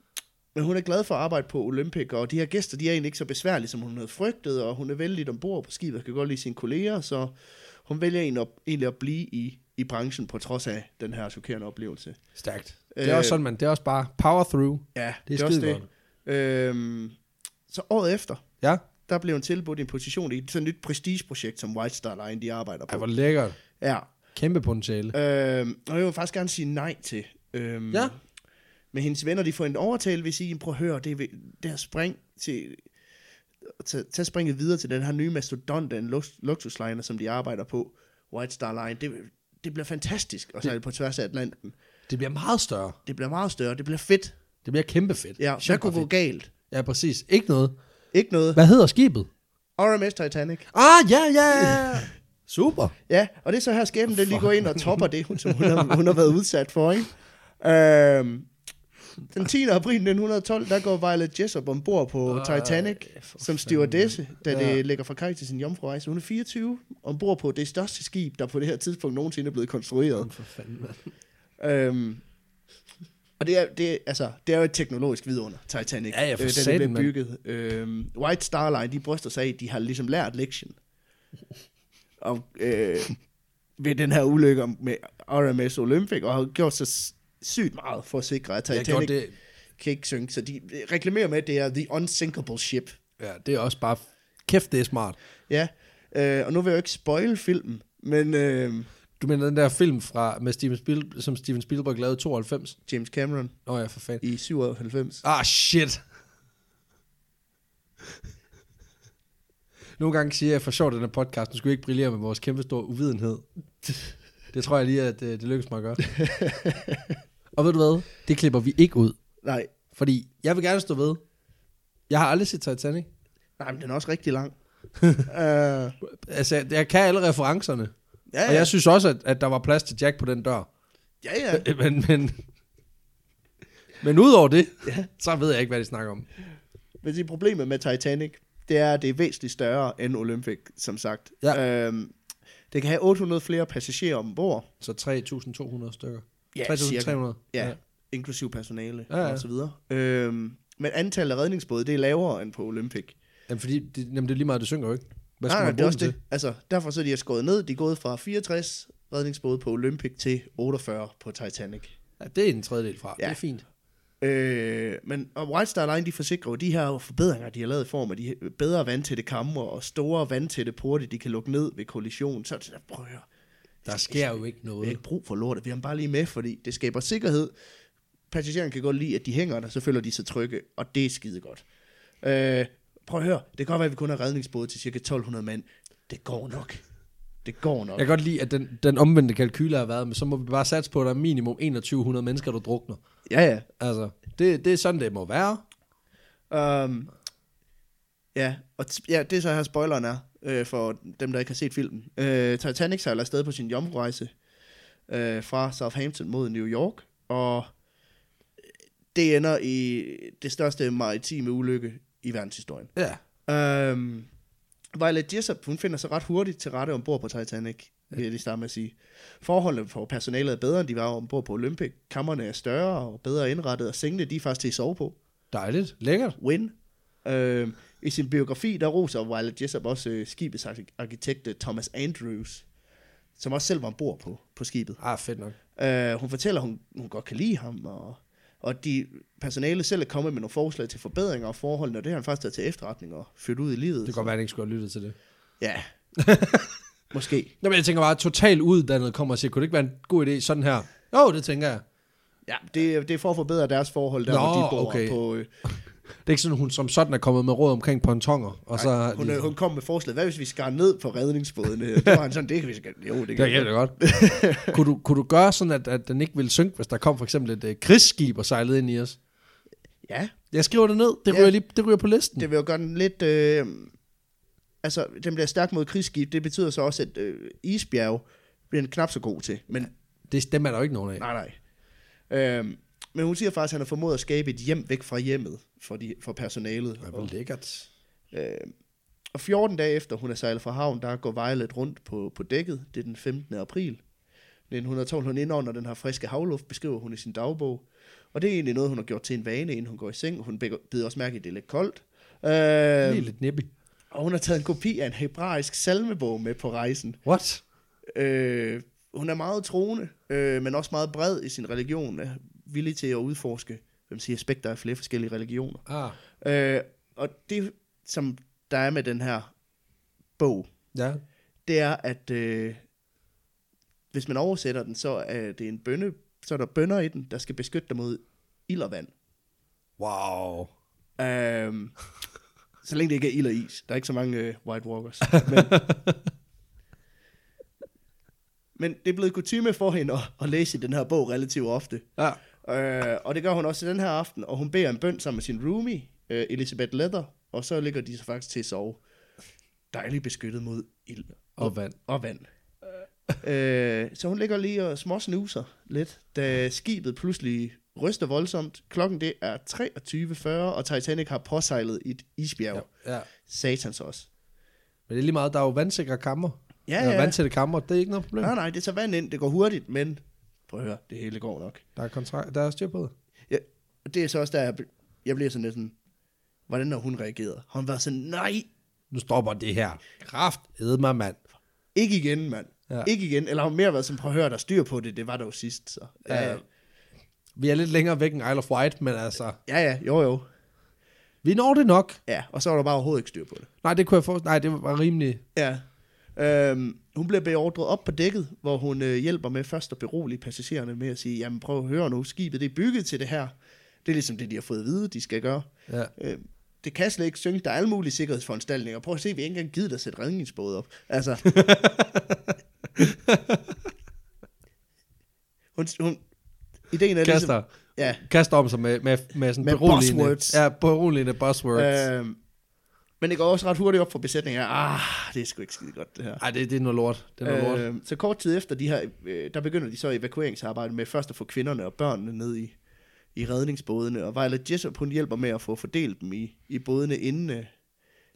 Speaker 2: men hun er glad for at arbejde på Olympic, og de her gæster, de er egentlig ikke så besværlige, som hun havde frygtet, og hun er vældig ombord på skibet, og kan godt lide sine kolleger, så hun vælger egentlig at, egentlig at blive i, i branchen, på trods af den her chokerende oplevelse.
Speaker 1: Stærkt. Det er
Speaker 2: Øh,
Speaker 1: også sådan, man. Det er også bare power through.
Speaker 2: Ja,
Speaker 1: Det er skidegodt.
Speaker 2: Øhm, så året efter,
Speaker 1: Ja?
Speaker 2: der blev hun tilbudt en position i sådan et nyt prestigeprojekt, som White Star Line, de arbejder
Speaker 1: Ej,
Speaker 2: på.
Speaker 1: hvor lækkert.
Speaker 2: Ja,
Speaker 1: Kæmpe potentiale.
Speaker 2: øhm, og jeg vil faktisk gerne sige nej til. Øhm,
Speaker 1: Ja.
Speaker 2: Men hendes venner, de får en overtale ved at sige, prøv at høre, det er ved- det her spring til, til, til at springe videre til den her nye mastodont af en lux- luksusliner, som de arbejder på, White Star Line, det, det bliver fantastisk at sejle på tværs af Atlanten.
Speaker 1: Det bliver meget større.
Speaker 2: Det bliver meget større, det bliver fedt.
Speaker 1: Det bliver kæmpe fedt.
Speaker 2: Ja,
Speaker 1: Shit,
Speaker 2: hvad kunne
Speaker 1: hvor
Speaker 2: gå
Speaker 1: fedt.
Speaker 2: galt?
Speaker 1: Ja, præcis. Ikke noget.
Speaker 2: Ikke noget.
Speaker 1: Hvad hedder skibet?
Speaker 2: RMS Titanic.
Speaker 1: Ah, ja, ja, ja. [LAUGHS] Super.
Speaker 2: Ja, og det er så her skæbnen, den lige går ind og topper det, hun, som hun har, hun har været udsat for, ikke? Øhm, den 10. april 1912, der går Violet Jessup ombord på Titanic som stewardesse, da det
Speaker 1: Ja.
Speaker 2: lægger fra kaj til sin jomfruejse. Hun er 24, ombord på det største skib, der på det her tidspunkt nogensinde er blevet konstrueret.
Speaker 1: For fanden, mand.
Speaker 2: Øhm, og det er, det, er- altså, det er jo et teknologisk vidunder, Titanic, Øh,
Speaker 1: Ja, ja, for
Speaker 2: da det
Speaker 1: satan,
Speaker 2: blev
Speaker 1: mand.
Speaker 2: bygget. Øhm, White Star Line, de bryster sig af, at de har ligesom lært lektien. Og, øh, ved den her ulykke om- med RMS Olympic, og har gjort så s- sygt meget for at sikre, at
Speaker 1: Jeg gjorde
Speaker 2: Titanic
Speaker 1: det.
Speaker 2: kan ikke synke. Så de øh, reklamerer med, at det er The Unsinkable Ship.
Speaker 1: Ja, det er også bare... Kæft, det er smart.
Speaker 2: Ja, øh, og nu vil jeg jo ikke spoil filmen, men øh,
Speaker 1: Du mener den der film fra, med Steven Spiel, som Steven Spielberg lavede i 92?
Speaker 2: James Cameron
Speaker 1: Nå ja, for fanden.
Speaker 2: i 97.
Speaker 1: Ah, shit. Nogle gange siger jeg for sjovt, at den her podcast, nu skal vi ikke brillere med vores kæmpe store uvidenhed. Det tror jeg lige, at øh, det lykkes mig at gøre. Og ved du hvad? Det klipper vi ikke ud.
Speaker 2: Nej,
Speaker 1: Fordi jeg vil gerne stå ved. Jeg har aldrig set Titanic.
Speaker 2: nej, men den er også rigtig
Speaker 1: [LAUGHS]
Speaker 2: lang. øh,
Speaker 1: Altså, jeg kan alle referencerne.
Speaker 2: ja,
Speaker 1: Og jeg synes også, at, at der var plads til Jack på den dør.
Speaker 2: ja, ja.
Speaker 1: [LAUGHS] Men, men, men udover det, så ved jeg ikke, hvad de snakker om.
Speaker 2: Men det problemet med Titanic, det er, at det er væsentligt større end Olympic, som sagt.
Speaker 1: Ja.
Speaker 2: Øhm, det kan have 800 flere passagerer ombord.
Speaker 1: Så 3.200 stykker.
Speaker 2: Ja,
Speaker 1: 3.300.
Speaker 2: Ja, ja. inklusiv personale
Speaker 1: Ja,
Speaker 2: ja,
Speaker 1: ja.
Speaker 2: ja. og så videre. Øhm, men antallet af redningsbåde, det er lavere end på Olympic.
Speaker 1: Jamen, fordi det, jamen, det er lige meget, det synker jo ikke. Hvad skal nej,
Speaker 2: Nej, nej,
Speaker 1: man
Speaker 2: det er
Speaker 1: bruge
Speaker 2: også
Speaker 1: det til?
Speaker 2: det. Altså, derfor så er de har skåret ned. De er gået fra 64 redningsbåde på Olympic til 48 på Titanic.
Speaker 1: Ja, det er en tredjedel fra. Ja.
Speaker 2: Ja.
Speaker 1: Det er fint.
Speaker 2: Øh, men og White Star Line, de forsikrer jo de her forbedringer, de har lavet i form af de her bedre vandtætte kamre og store vandtætte porte, de kan lukke ned ved kollision. Så er det sådan, prøv at høre,
Speaker 1: Der sker jo ikke
Speaker 2: vi har
Speaker 1: noget.
Speaker 2: ikke brug for lortet, vi har dem bare lige med, fordi det skaber sikkerhed. Passagererne kan godt lide, at de hænger der, så føler de sig trygge, og det er skide godt. Øh, prøv at høre, det kan godt være, at vi kun har redningsbåde til cirka 1200 mand. Det går nok. Det går nok.
Speaker 1: Jeg kan godt lide, at den, den omvendte kalkyler har været, men så må vi bare satse på, at der er minimum 2100 mennesker, der drukner.
Speaker 2: Ja, ja.
Speaker 1: Altså, det, det er sådan, det må være.
Speaker 2: Um, ja, og t- ja, det er så her spoileren er, øh, for dem, der ikke har set filmen. Øh, Titanic sejler afsted på sin jomfrurejse øh, fra Southampton mod New York, og det ender i det største maritime ulykke i verdenshistorien.
Speaker 1: Ja.
Speaker 2: Um, Violet Jessup, hun finder sig ret hurtigt til rette ombord på Titanic, vil jeg lige starte med at sige. Forholdene for personalet er bedre, end de var ombord på Olympic. Kammerne er større og bedre indrettet, og sengene de er faktisk til at sove på.
Speaker 1: Dejligt. Lækkert.
Speaker 2: Win. Øh, I sin biografi, der roser Violet Jessup også øh, skibets ark- arkitekt øh, Thomas Andrews, som også selv var ombord på, på skibet.
Speaker 1: Ah, fedt nok.
Speaker 2: Øh, hun fortæller, hun, hun godt kan lide ham, og, og de personale selv er kommet med nogle forslag til forbedringer af forholdene, og det har han faktisk taget til efterretning og ført ud i livet.
Speaker 1: Det kan godt være, at han ikke skulle have lyttet til det. [LAUGHS]
Speaker 2: Ja. Måske.
Speaker 1: Nå, men jeg tænker bare, at totalt uddannet kommer og siger, kunne det ikke være en god idé sådan her? Jo, det tænker jeg.
Speaker 2: Ja, det, det er for at forbedre deres forhold, der
Speaker 1: Nå,
Speaker 2: hvor de bor
Speaker 1: okay.
Speaker 2: på... Øh,
Speaker 1: Det er ikke sådan, hun som sådan er kommet med råd omkring pontonger. Og så,
Speaker 2: nej, hun, øh, hun kom med forslag, hvad hvis vi skar ned på redningsbådene? det var han sådan, det kan vi skal... Jo, det kan
Speaker 1: det er
Speaker 2: vi
Speaker 1: det
Speaker 2: [LAUGHS]
Speaker 1: godt. kunne, du, kunne du gøre sådan, at, at den ikke ville synke, hvis der kom for eksempel et øh, krigsskib og sejlede ind i os?
Speaker 2: Ja,
Speaker 1: Jeg skriver det ned. Det
Speaker 2: Ja.
Speaker 1: ryger, lige, det ryger på listen.
Speaker 2: det vil jo gøre den lidt... Øh, altså, den bliver stærk mod krigsskib. Det betyder så også, at øh, isbjerg bliver den knap så god til. Men
Speaker 1: Det, dem er der jo ikke nogen af.
Speaker 2: nej, nej. Øh, men hun siger faktisk, at han har formået at skabe et hjem væk fra hjemmet for, de, for personalet.
Speaker 1: Ej, hvor
Speaker 2: Og,
Speaker 1: lækkert.
Speaker 2: øh, og 14 dage efter hun er sejlet fra havn, der går Violet rundt på, på dækket. Det er den 15. april. 1912, hun indånder den her friske havluft, beskriver hun i sin dagbog. Og det er egentlig noget, hun har gjort til en vane, inden hun går i seng. Hun bækker- bider også mærke, i, at det er lidt koldt. Øh,
Speaker 1: Lige lidt nippy.
Speaker 2: Og hun har taget en kopi af en hebraisk salmebog med på rejsen.
Speaker 1: What?
Speaker 2: Øh, hun er meget troende, øh, men også meget bred i sin religion, er villig til at udforske hvem siger, aspekter af flere forskellige religioner.
Speaker 1: Ah,
Speaker 2: Øh, og det, som der er med den her bog,
Speaker 1: ja.
Speaker 2: det er, at øh, hvis man oversætter den, så er det en bønne, så er der bønder i den, der skal beskytte dig mod ild og vand.
Speaker 1: Wow.
Speaker 2: Øhm, så længe det ikke er ild og is. Der er ikke så mange øh, White Walkers. Men, men det er blevet kutume for hende at, at læse i den her bog relativt ofte.
Speaker 1: Ja.
Speaker 2: Øh, og det gør hun også den her aften, og hun beder en bøn sammen med sin roomie, øh, Elizabeth Leather, og så ligger de så faktisk til at sove. Dejligt beskyttet mod ild
Speaker 1: Og vand.
Speaker 2: og vand. øh, så hun ligger lige og småsnuser lidt, da skibet pludselig ryster voldsomt. Klokken det er 23.40, og Titanic har påsejlet et isbjerg. Ja.
Speaker 1: ja.
Speaker 2: Satans også.
Speaker 1: Men det er lige meget, der er jo vandsikre kammer.
Speaker 2: Ja,
Speaker 1: Eller
Speaker 2: ja.
Speaker 1: vandtætte kammer, det er ikke noget problem.
Speaker 2: Nej, nej, det tager vand ind, det går hurtigt, men prøv at høre, det hele går nok.
Speaker 1: Der er, kontrakt, der er styr på det.
Speaker 2: Ja, og det er så også, der jeg, bl- jeg bliver sådan lidt sådan, hvordan har hun reageret? Har hun været sådan, nej,
Speaker 1: Nu stopper det her. Kraft, æd mig, mand.
Speaker 2: ikke igen, mand.
Speaker 1: Ja.
Speaker 2: Ja. Ikke igen. Eller har hun mere været sådan, prøv at høre, der er styr på det, det var der jo sidst. Så.
Speaker 1: Ja.
Speaker 2: Øh,
Speaker 1: Vi er lidt længere væk end Isle of Wight, men altså,
Speaker 2: ja, ja, jo, jo.
Speaker 1: vi når det nok.
Speaker 2: Ja, og så var der bare overhovedet ikke styr på det.
Speaker 1: Nej, det kunne jeg forstå. Nej, det var rimelig.
Speaker 2: Ja. Øhm, hun bliver beordret op på dækket, hvor hun øh, hjælper med først at berolige passagererne med at sige, jamen prøv at høre nu, skibet det er bygget til det her. Det er ligesom det, de har fået at vide, de skal gøre.
Speaker 1: Ja.
Speaker 2: Øh, det kan slet ikke synge, der er alle mulige sikkerhedsforanstaltninger. Prøv at se, vi har ikke engang givet dig at sætte redningsbåde op. Altså. hun, hun, ideen er ligesom...
Speaker 1: Kaster,
Speaker 2: Ja,
Speaker 1: kaster om sig med, med, med sådan
Speaker 2: Med
Speaker 1: beroligende-
Speaker 2: buzzwords.
Speaker 1: Ja, beroligende buzzwords. Øh.
Speaker 2: øh, men det går også ret hurtigt op for besætningen. Ah, det er sgu ikke skide godt det her.
Speaker 1: Ej, det, det er noget lort. Det er noget øh. lort.
Speaker 2: Øh, så kort tid efter de her, øh, der begynder de så evakueringsarbejde med først at få kvinderne og børnene ned i, i redningsbådene, og Violet Jessup, hun hjælper med at få fordelt dem i, i bådene, inden, øh,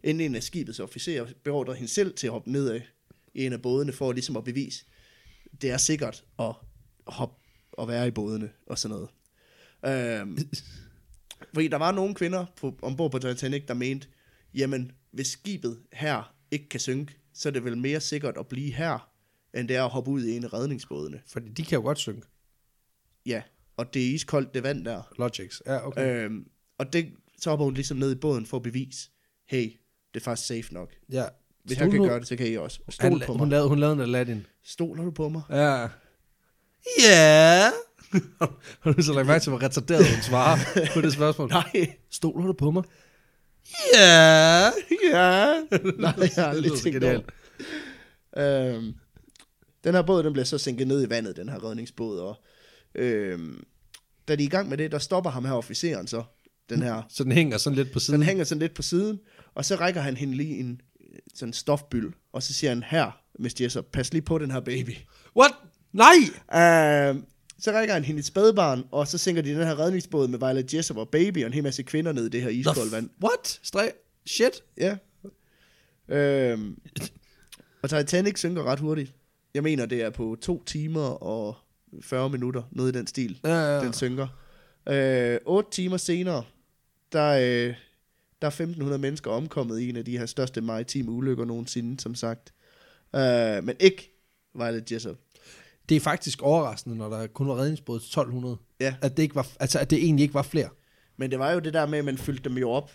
Speaker 2: inden en af skibets officerer beordrer hende selv til at hoppe ned af i en af bådene, for ligesom at bevise, det er sikkert at hoppe og være i bådene og sådan noget. Øhm, fordi der var nogle kvinder på, ombord på Titanic, der mente, jamen, hvis skibet her ikke kan synke, så er det vel mere sikkert at blive her, end det er at hoppe ud i en af redningsbådene.
Speaker 1: Fordi de kan jo godt synke.
Speaker 2: Ja, og det er iskoldt det vand der.
Speaker 1: Logics. Ja, okay. Øh.
Speaker 2: Øhm, og det, så hopper hun ligesom ned i båden for at bevise, hey, det er faktisk safe nok.
Speaker 1: Ja.
Speaker 2: Hvis
Speaker 1: Stol
Speaker 2: jeg kan
Speaker 1: nu-
Speaker 2: gøre det, så kan I også.
Speaker 1: Han,
Speaker 2: Stol på
Speaker 1: hun,
Speaker 2: mig.
Speaker 1: lavede, hun lavede en Aladdin.
Speaker 2: Stoler du på mig? [LAUGHS]
Speaker 1: Ja. [LAUGHS] Ja. Har du så lagt mærke til, hvor retarderet hun svarer på det [LAUGHS] spørgsmål?
Speaker 2: Nej.
Speaker 1: Stoler du på mig? Ja. [LAUGHS]
Speaker 2: ja. Nej, jeg har aldrig
Speaker 1: lyder så
Speaker 2: tænkt over.
Speaker 1: genialt.
Speaker 2: Øhm, den her båd, den bliver så sænket ned i vandet, den her redningsbåd. Og, øhm, da de er i gang med det, der stopper ham her officeren så, den her.
Speaker 1: Så den hænger sådan lidt på
Speaker 2: Den
Speaker 1: siden.
Speaker 2: hænger sådan lidt på siden, og så rækker han hende lige en øh, sådan en stofbyld, og så siger han, her, Miss Jessup, pas lige på den her baby.
Speaker 1: What? Nej!
Speaker 2: Øhm, så rækker han hende et spædbarn, og så sænker de den her redningsbåd med Violet Jessup og baby og en hel masse kvinder ned i det her
Speaker 1: Nå,
Speaker 2: iskoldt vand.
Speaker 1: What? Stre- Shit.
Speaker 2: Ja. Øhm, og Titanic synker ret hurtigt. Jeg mener, det er på to timer og 40 minutter, noget i den stil,
Speaker 1: Ja, ja, ja.
Speaker 2: den synker. Øh, 8 timer senere, der, øh, der er 1.500 mennesker omkommet i en af de her største maritime ulykker nogensinde, som sagt. Øh, men ikke Violet Jessup.
Speaker 1: Det er faktisk overraskende, når der kun var redningsbåd til 1200.
Speaker 2: Ja.
Speaker 1: At det, ikke var, altså, at det egentlig ikke var flere.
Speaker 2: Men det var jo det der med, at man fyldte dem jo op,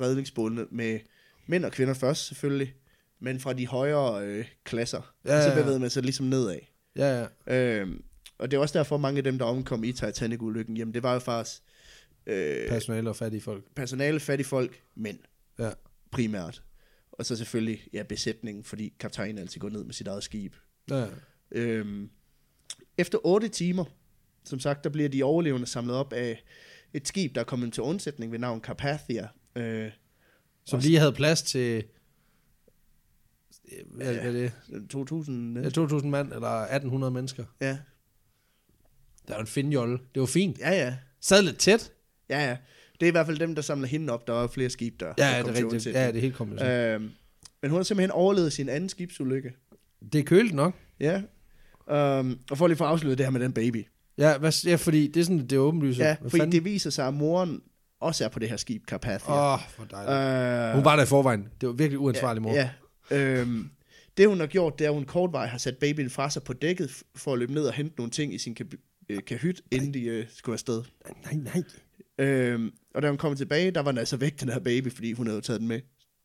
Speaker 2: redningsbådene, med mænd og kvinder først selvfølgelig, men fra de højere øh, klasser.
Speaker 1: Ja,
Speaker 2: Ja,
Speaker 1: ja,
Speaker 2: så
Speaker 1: ja.
Speaker 2: bevægede man sig ligesom nedad.
Speaker 1: Ja, ja.
Speaker 2: Øhm, og det er også derfor, mange af dem, der omkom i Titanic-ulykken, jamen det var jo faktisk øh,
Speaker 1: Personale og fattige folk.
Speaker 2: personale, fattige folk, mænd
Speaker 1: Ja.
Speaker 2: primært. Og så selvfølgelig ja, besætningen, fordi kaptajnen altid går ned med sit eget skib.
Speaker 1: Ja, ja.
Speaker 2: Øhm, efter 8 timer, som sagt, der bliver de overlevende samlet op af et skib, der er kommet til undsætning ved navn Carpathia. Øh,
Speaker 1: Som
Speaker 2: Også-
Speaker 1: lige havde plads til... Hvad, hvad er det?
Speaker 2: 2000...
Speaker 1: Ja, 2.000 mand eller 1.800 mennesker.
Speaker 2: Ja,
Speaker 1: Der var en finjolle. Det var fint.
Speaker 2: ja, ja.
Speaker 1: Sad lidt tæt.
Speaker 2: Ja, ja. Det er i hvert fald dem, der samler hende op. Der var flere skib, der
Speaker 1: Ja,
Speaker 2: der
Speaker 1: ja det
Speaker 2: kom
Speaker 1: er
Speaker 2: til
Speaker 1: rigtigt.
Speaker 2: undsætning.
Speaker 1: Ja, det er helt kommet. Øh.
Speaker 2: Øhm, men hun har simpelthen overlevet sin anden skibsulykke.
Speaker 1: Det er køligt nok.
Speaker 2: Ja. Øhm, og for lige for at afslutte det her med den baby.
Speaker 1: Ja, hvad, ja fordi det er sådan, det er åbenlyst.
Speaker 2: Ja,
Speaker 1: hvad
Speaker 2: fordi det viser sig, at moren også er på det her skib, Carpathia.
Speaker 1: Åh, oh, hvor dejligt. Øh.
Speaker 2: øh,
Speaker 1: Hun var der i forvejen. Det var virkelig uansvarlig mor.
Speaker 2: Ja. Øhm, det hun har gjort, det er, at hun kortvej har sat babyen fra sig på dækket f- for at løbe ned og hente nogle ting i sin kab- øh, kahyt, inden de øh, skulle afsted.
Speaker 1: Nej, nej.
Speaker 2: Øhm, og da hun kom tilbage, der var den altså væk, den her baby, fordi hun havde jo taget den med.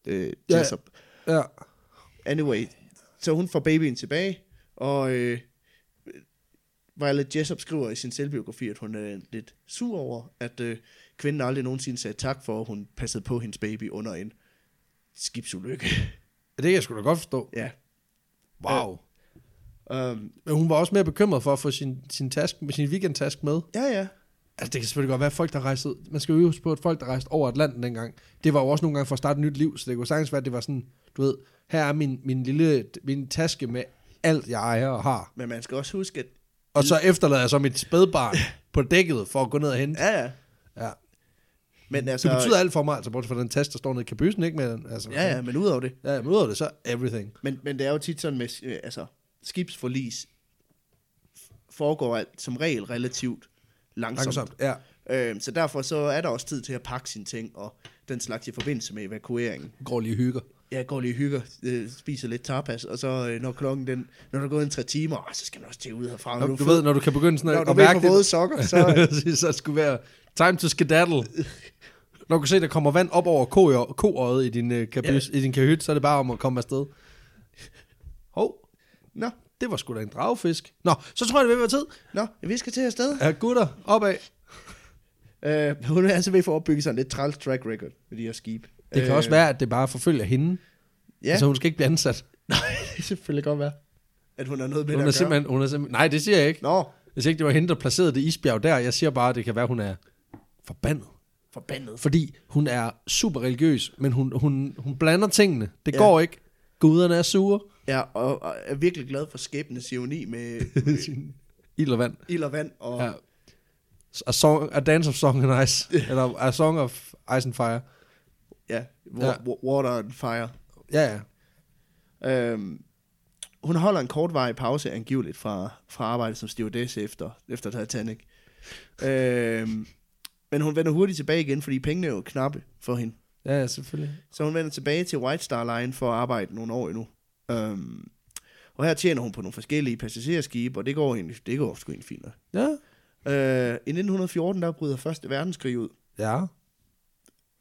Speaker 2: Øh,
Speaker 1: Ja.
Speaker 2: Jessup.
Speaker 1: Ja.
Speaker 2: Anyway, så hun får babyen tilbage, og øh, Violet Jessup skriver i sin selvbiografi, at hun er lidt sur over, at øh, kvinden aldrig nogensinde sagde tak for, at hun passede på hendes baby under en skibsulykke. [LAUGHS]
Speaker 1: Det kan jeg sgu da godt forstå.
Speaker 2: ja.
Speaker 1: Wow. Øh.
Speaker 2: Um,
Speaker 1: Men hun var også mere bekymret for at få sin, sin, task, sin weekendtask med.
Speaker 2: ja, ja.
Speaker 1: Altså, det kan selvfølgelig godt være, at folk, der rejste... ud- Man skal jo huske på, at folk, der rejste over Atlanten dengang, det var jo også nogle gange for at starte et nyt liv, så det kunne sagtens være, at det var sådan, du ved, her er min, min lille min taske med alt, jeg ejer og har.
Speaker 2: Men man skal også huske, at
Speaker 1: Og så efterlader jeg så mit
Speaker 2: [LAUGHS]
Speaker 1: spædbarn på dækket for at gå ned og hente.
Speaker 2: ja, ja.
Speaker 1: Ja.
Speaker 2: Men altså,
Speaker 1: Det betyder alt for mig, altså bortset fra den taske, der står nede i kabysen, ikke? Men, altså,
Speaker 2: ja, ja, men udover det.
Speaker 1: Ja, men udover det, så everything.
Speaker 2: Men, men det er jo tit sådan med, øh, altså, skibsforlis foregår alt som regel relativt langsomt. langsomt.
Speaker 1: Langsomt. Ja.
Speaker 2: Øhm, så derfor så er der også tid til at pakke sine ting og den slags i forbindelse med evakueringen.
Speaker 1: Går lige og hygger.
Speaker 2: Jeg går lige og hygger, øh, spiser lidt tapas, og så øh, når klokken den, når der er gået en tre timer, åh, så skal man også til ud herfra.
Speaker 1: Når,
Speaker 2: er
Speaker 1: du
Speaker 2: fed.
Speaker 1: ved, øh, når du kan begynde sådan
Speaker 2: når
Speaker 1: at,
Speaker 2: du
Speaker 1: at
Speaker 2: er
Speaker 1: mærke
Speaker 2: på
Speaker 1: [LAUGHS]
Speaker 2: våde
Speaker 1: det,
Speaker 2: sokker, så, øh,
Speaker 1: så, så skulle være time to
Speaker 2: [LAUGHS]
Speaker 1: skedaddle. Når du kan se, der kommer vand op over ko- koøjet i din, øh, kabys, i din kahyt, så er det bare om at komme afsted. Hov,
Speaker 2: nå,
Speaker 1: det var sgu da en dragefisk. Nå, så tror jeg, det vil være tid.
Speaker 2: nå, vi skal til afsted.
Speaker 1: Ja, gutter, opad.
Speaker 2: Øh, hun er altså ved for at opbygge sig en lidt træls track record med de her skib.
Speaker 1: Det kan
Speaker 2: Øh,
Speaker 1: også være, at det bare forfølger hende.
Speaker 2: Ja,
Speaker 1: Altså, hun skal ikke blive ansat.
Speaker 2: det kan selvfølgelig godt være, at hun har noget med det
Speaker 1: Hun
Speaker 2: at
Speaker 1: er,
Speaker 2: gøre.
Speaker 1: simpelthen, hun er simpelthen... Nej, det siger jeg ikke.
Speaker 2: Nå,
Speaker 1: Jeg siger ikke, det var hende, der placerede det isbjerg der. Jeg siger bare, at det kan være, hun er forbandet.
Speaker 2: forbandet.
Speaker 1: Fordi hun er super religiøs, men hun, hun, hun blander tingene. Det
Speaker 2: Ja.
Speaker 1: ja. går ikke. Guderne er sure.
Speaker 2: Ja, og, og er virkelig glad for skæbnes ironi
Speaker 1: [LAUGHS]
Speaker 2: med øh,
Speaker 1: Ild og vand.
Speaker 2: ild og vand. Og,
Speaker 1: Ja. A, song, a dance of song and ice. Eller a song of ice and fire.
Speaker 2: Ja,
Speaker 1: Ja.
Speaker 2: wa- wa- water and fire.
Speaker 1: Ja, ja.
Speaker 2: Øhm, hun holder en kortvarig pause angiveligt fra, fra arbejdet som stewardess efter, efter Titanic. Øhm, men hun vender hurtigt tilbage igen, fordi pengene er jo knappe for hende.
Speaker 1: Ja, ja, selvfølgelig.
Speaker 2: Så hun vender tilbage til White Star Line for at arbejde nogle år endnu. Øhm, og her tjener hun på nogle forskellige passagerskibe, og det går egentlig, det går sgu egentlig fint. nok.
Speaker 1: Ja.
Speaker 2: Øh, I 1914, der bryder Første Verdenskrig ud.
Speaker 1: Ja.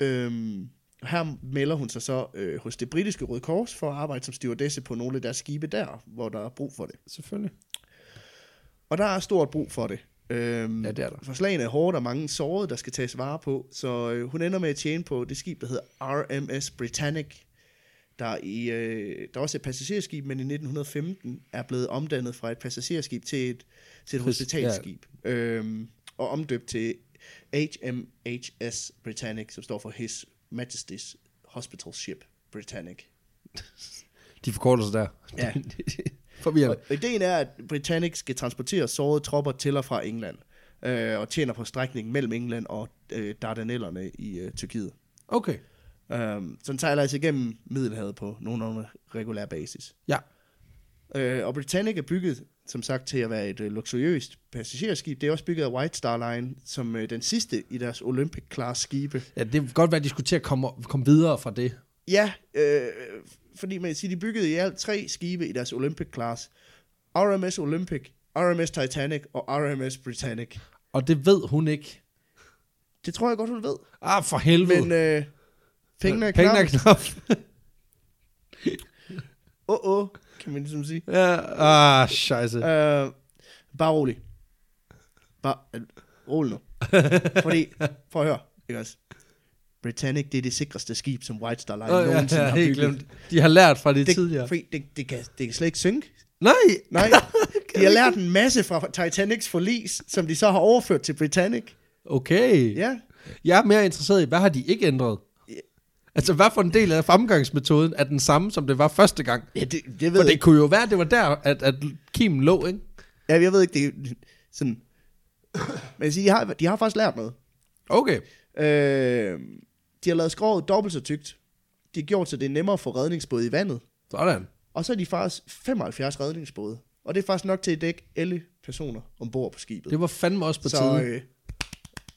Speaker 2: Øhm, og her melder hun sig så øh, hos det britiske Røde Kors for at arbejde som stewardesse på nogle af deres skibe der, hvor der er brug for det.
Speaker 1: Selvfølgelig.
Speaker 2: Og der er stort brug for det. Øhm,
Speaker 1: Ja, det er der.
Speaker 2: For slagene er hårde, og mange sårede, der skal tages vare på. Så øh, hun ender med at tjene på det skib, der hedder RMS Britannic. Der, i, øh, der er også et passagerskib, men i 1915 er blevet omdannet fra et passagerskib til et, til et
Speaker 1: Præcis,
Speaker 2: hospitalskib. Øhm, og omdøbt til HMHS Britannic, som står for His Majesty's Hospital Ship Britannic.
Speaker 1: De forkorter sig der.
Speaker 2: Ja.
Speaker 1: Forvirrende.
Speaker 2: Og ideen er, at Britannic skal transportere sårede tropper til og fra England, øh, og tjener på strækningen mellem England og øh, Dardanellerne i øh, Tyrkiet.
Speaker 1: Okay.
Speaker 2: Um, så den sejler altså igennem Middelhavet på nogenlunde regulær basis.
Speaker 1: Ja.
Speaker 2: Øh, og Britannic er bygget, som sagt, til at være et øh, luksuriøst passagerskib. Det er også bygget af White Star Line, som øh, den sidste i deres Olympic-class skibe.
Speaker 1: Ja, det kan godt være, at de skulle til at komme, komme videre fra det.
Speaker 2: Ja, øh, fordi man kan sige, de byggede i alt tre skibe i deres Olympic-class. RMS Olympic, RMS Titanic og RMS Britannic.
Speaker 1: Og det ved hun ikke.
Speaker 2: Det tror jeg godt, hun ved.
Speaker 1: Ah, for helvede.
Speaker 2: Men øh, pengene
Speaker 1: Pengene
Speaker 2: er knap.
Speaker 1: er knap.
Speaker 2: Åh, oh, oh, kan man ligesom sige.
Speaker 1: ja. Ah, scheisse.
Speaker 2: Øh, bare rolig. Bare øh, rolig nu. Fordi, prøv at høre, ikke også? Britannic, det er det sikreste skib, som White Star Line
Speaker 1: Åh,
Speaker 2: oh, nogensinde
Speaker 1: ja,
Speaker 2: har
Speaker 1: helt
Speaker 2: bygget.
Speaker 1: glemt. De har lært fra det,
Speaker 2: Det,
Speaker 1: tidligere.
Speaker 2: fordi det, det, kan, det kan slet ikke
Speaker 1: [LAUGHS]
Speaker 2: synke.
Speaker 1: Nej!
Speaker 2: Nej, de har lært en masse fra Titanics forlis, som de så har overført til Britannic.
Speaker 1: Okay.
Speaker 2: Ja,
Speaker 1: Jeg er mere interesseret i, hvad har de ikke ændret?
Speaker 2: Ja.
Speaker 1: Altså, hvad for en del af fremgangsmetoden er den samme, som det var første gang?
Speaker 2: ja det, det
Speaker 1: For
Speaker 2: ved jeg
Speaker 1: det kunne jo være, at det var der, at, at Kim lå, ikke?
Speaker 2: Ja, jeg ved ikke, det er sådan... Men jeg siger, de har, de har faktisk lært noget.
Speaker 1: Okay.
Speaker 2: Øh, de har lavet skroget dobbelt så tykt. De har gjort, så det er nemmere for redningsbåde i vandet.
Speaker 1: Sådan.
Speaker 2: Og så er de faktisk 75 redningsbåde. Og det er faktisk nok til at dække alle personer ombord på skibet.
Speaker 1: Det var fandme også på så,
Speaker 2: så
Speaker 1: tide,
Speaker 2: øh,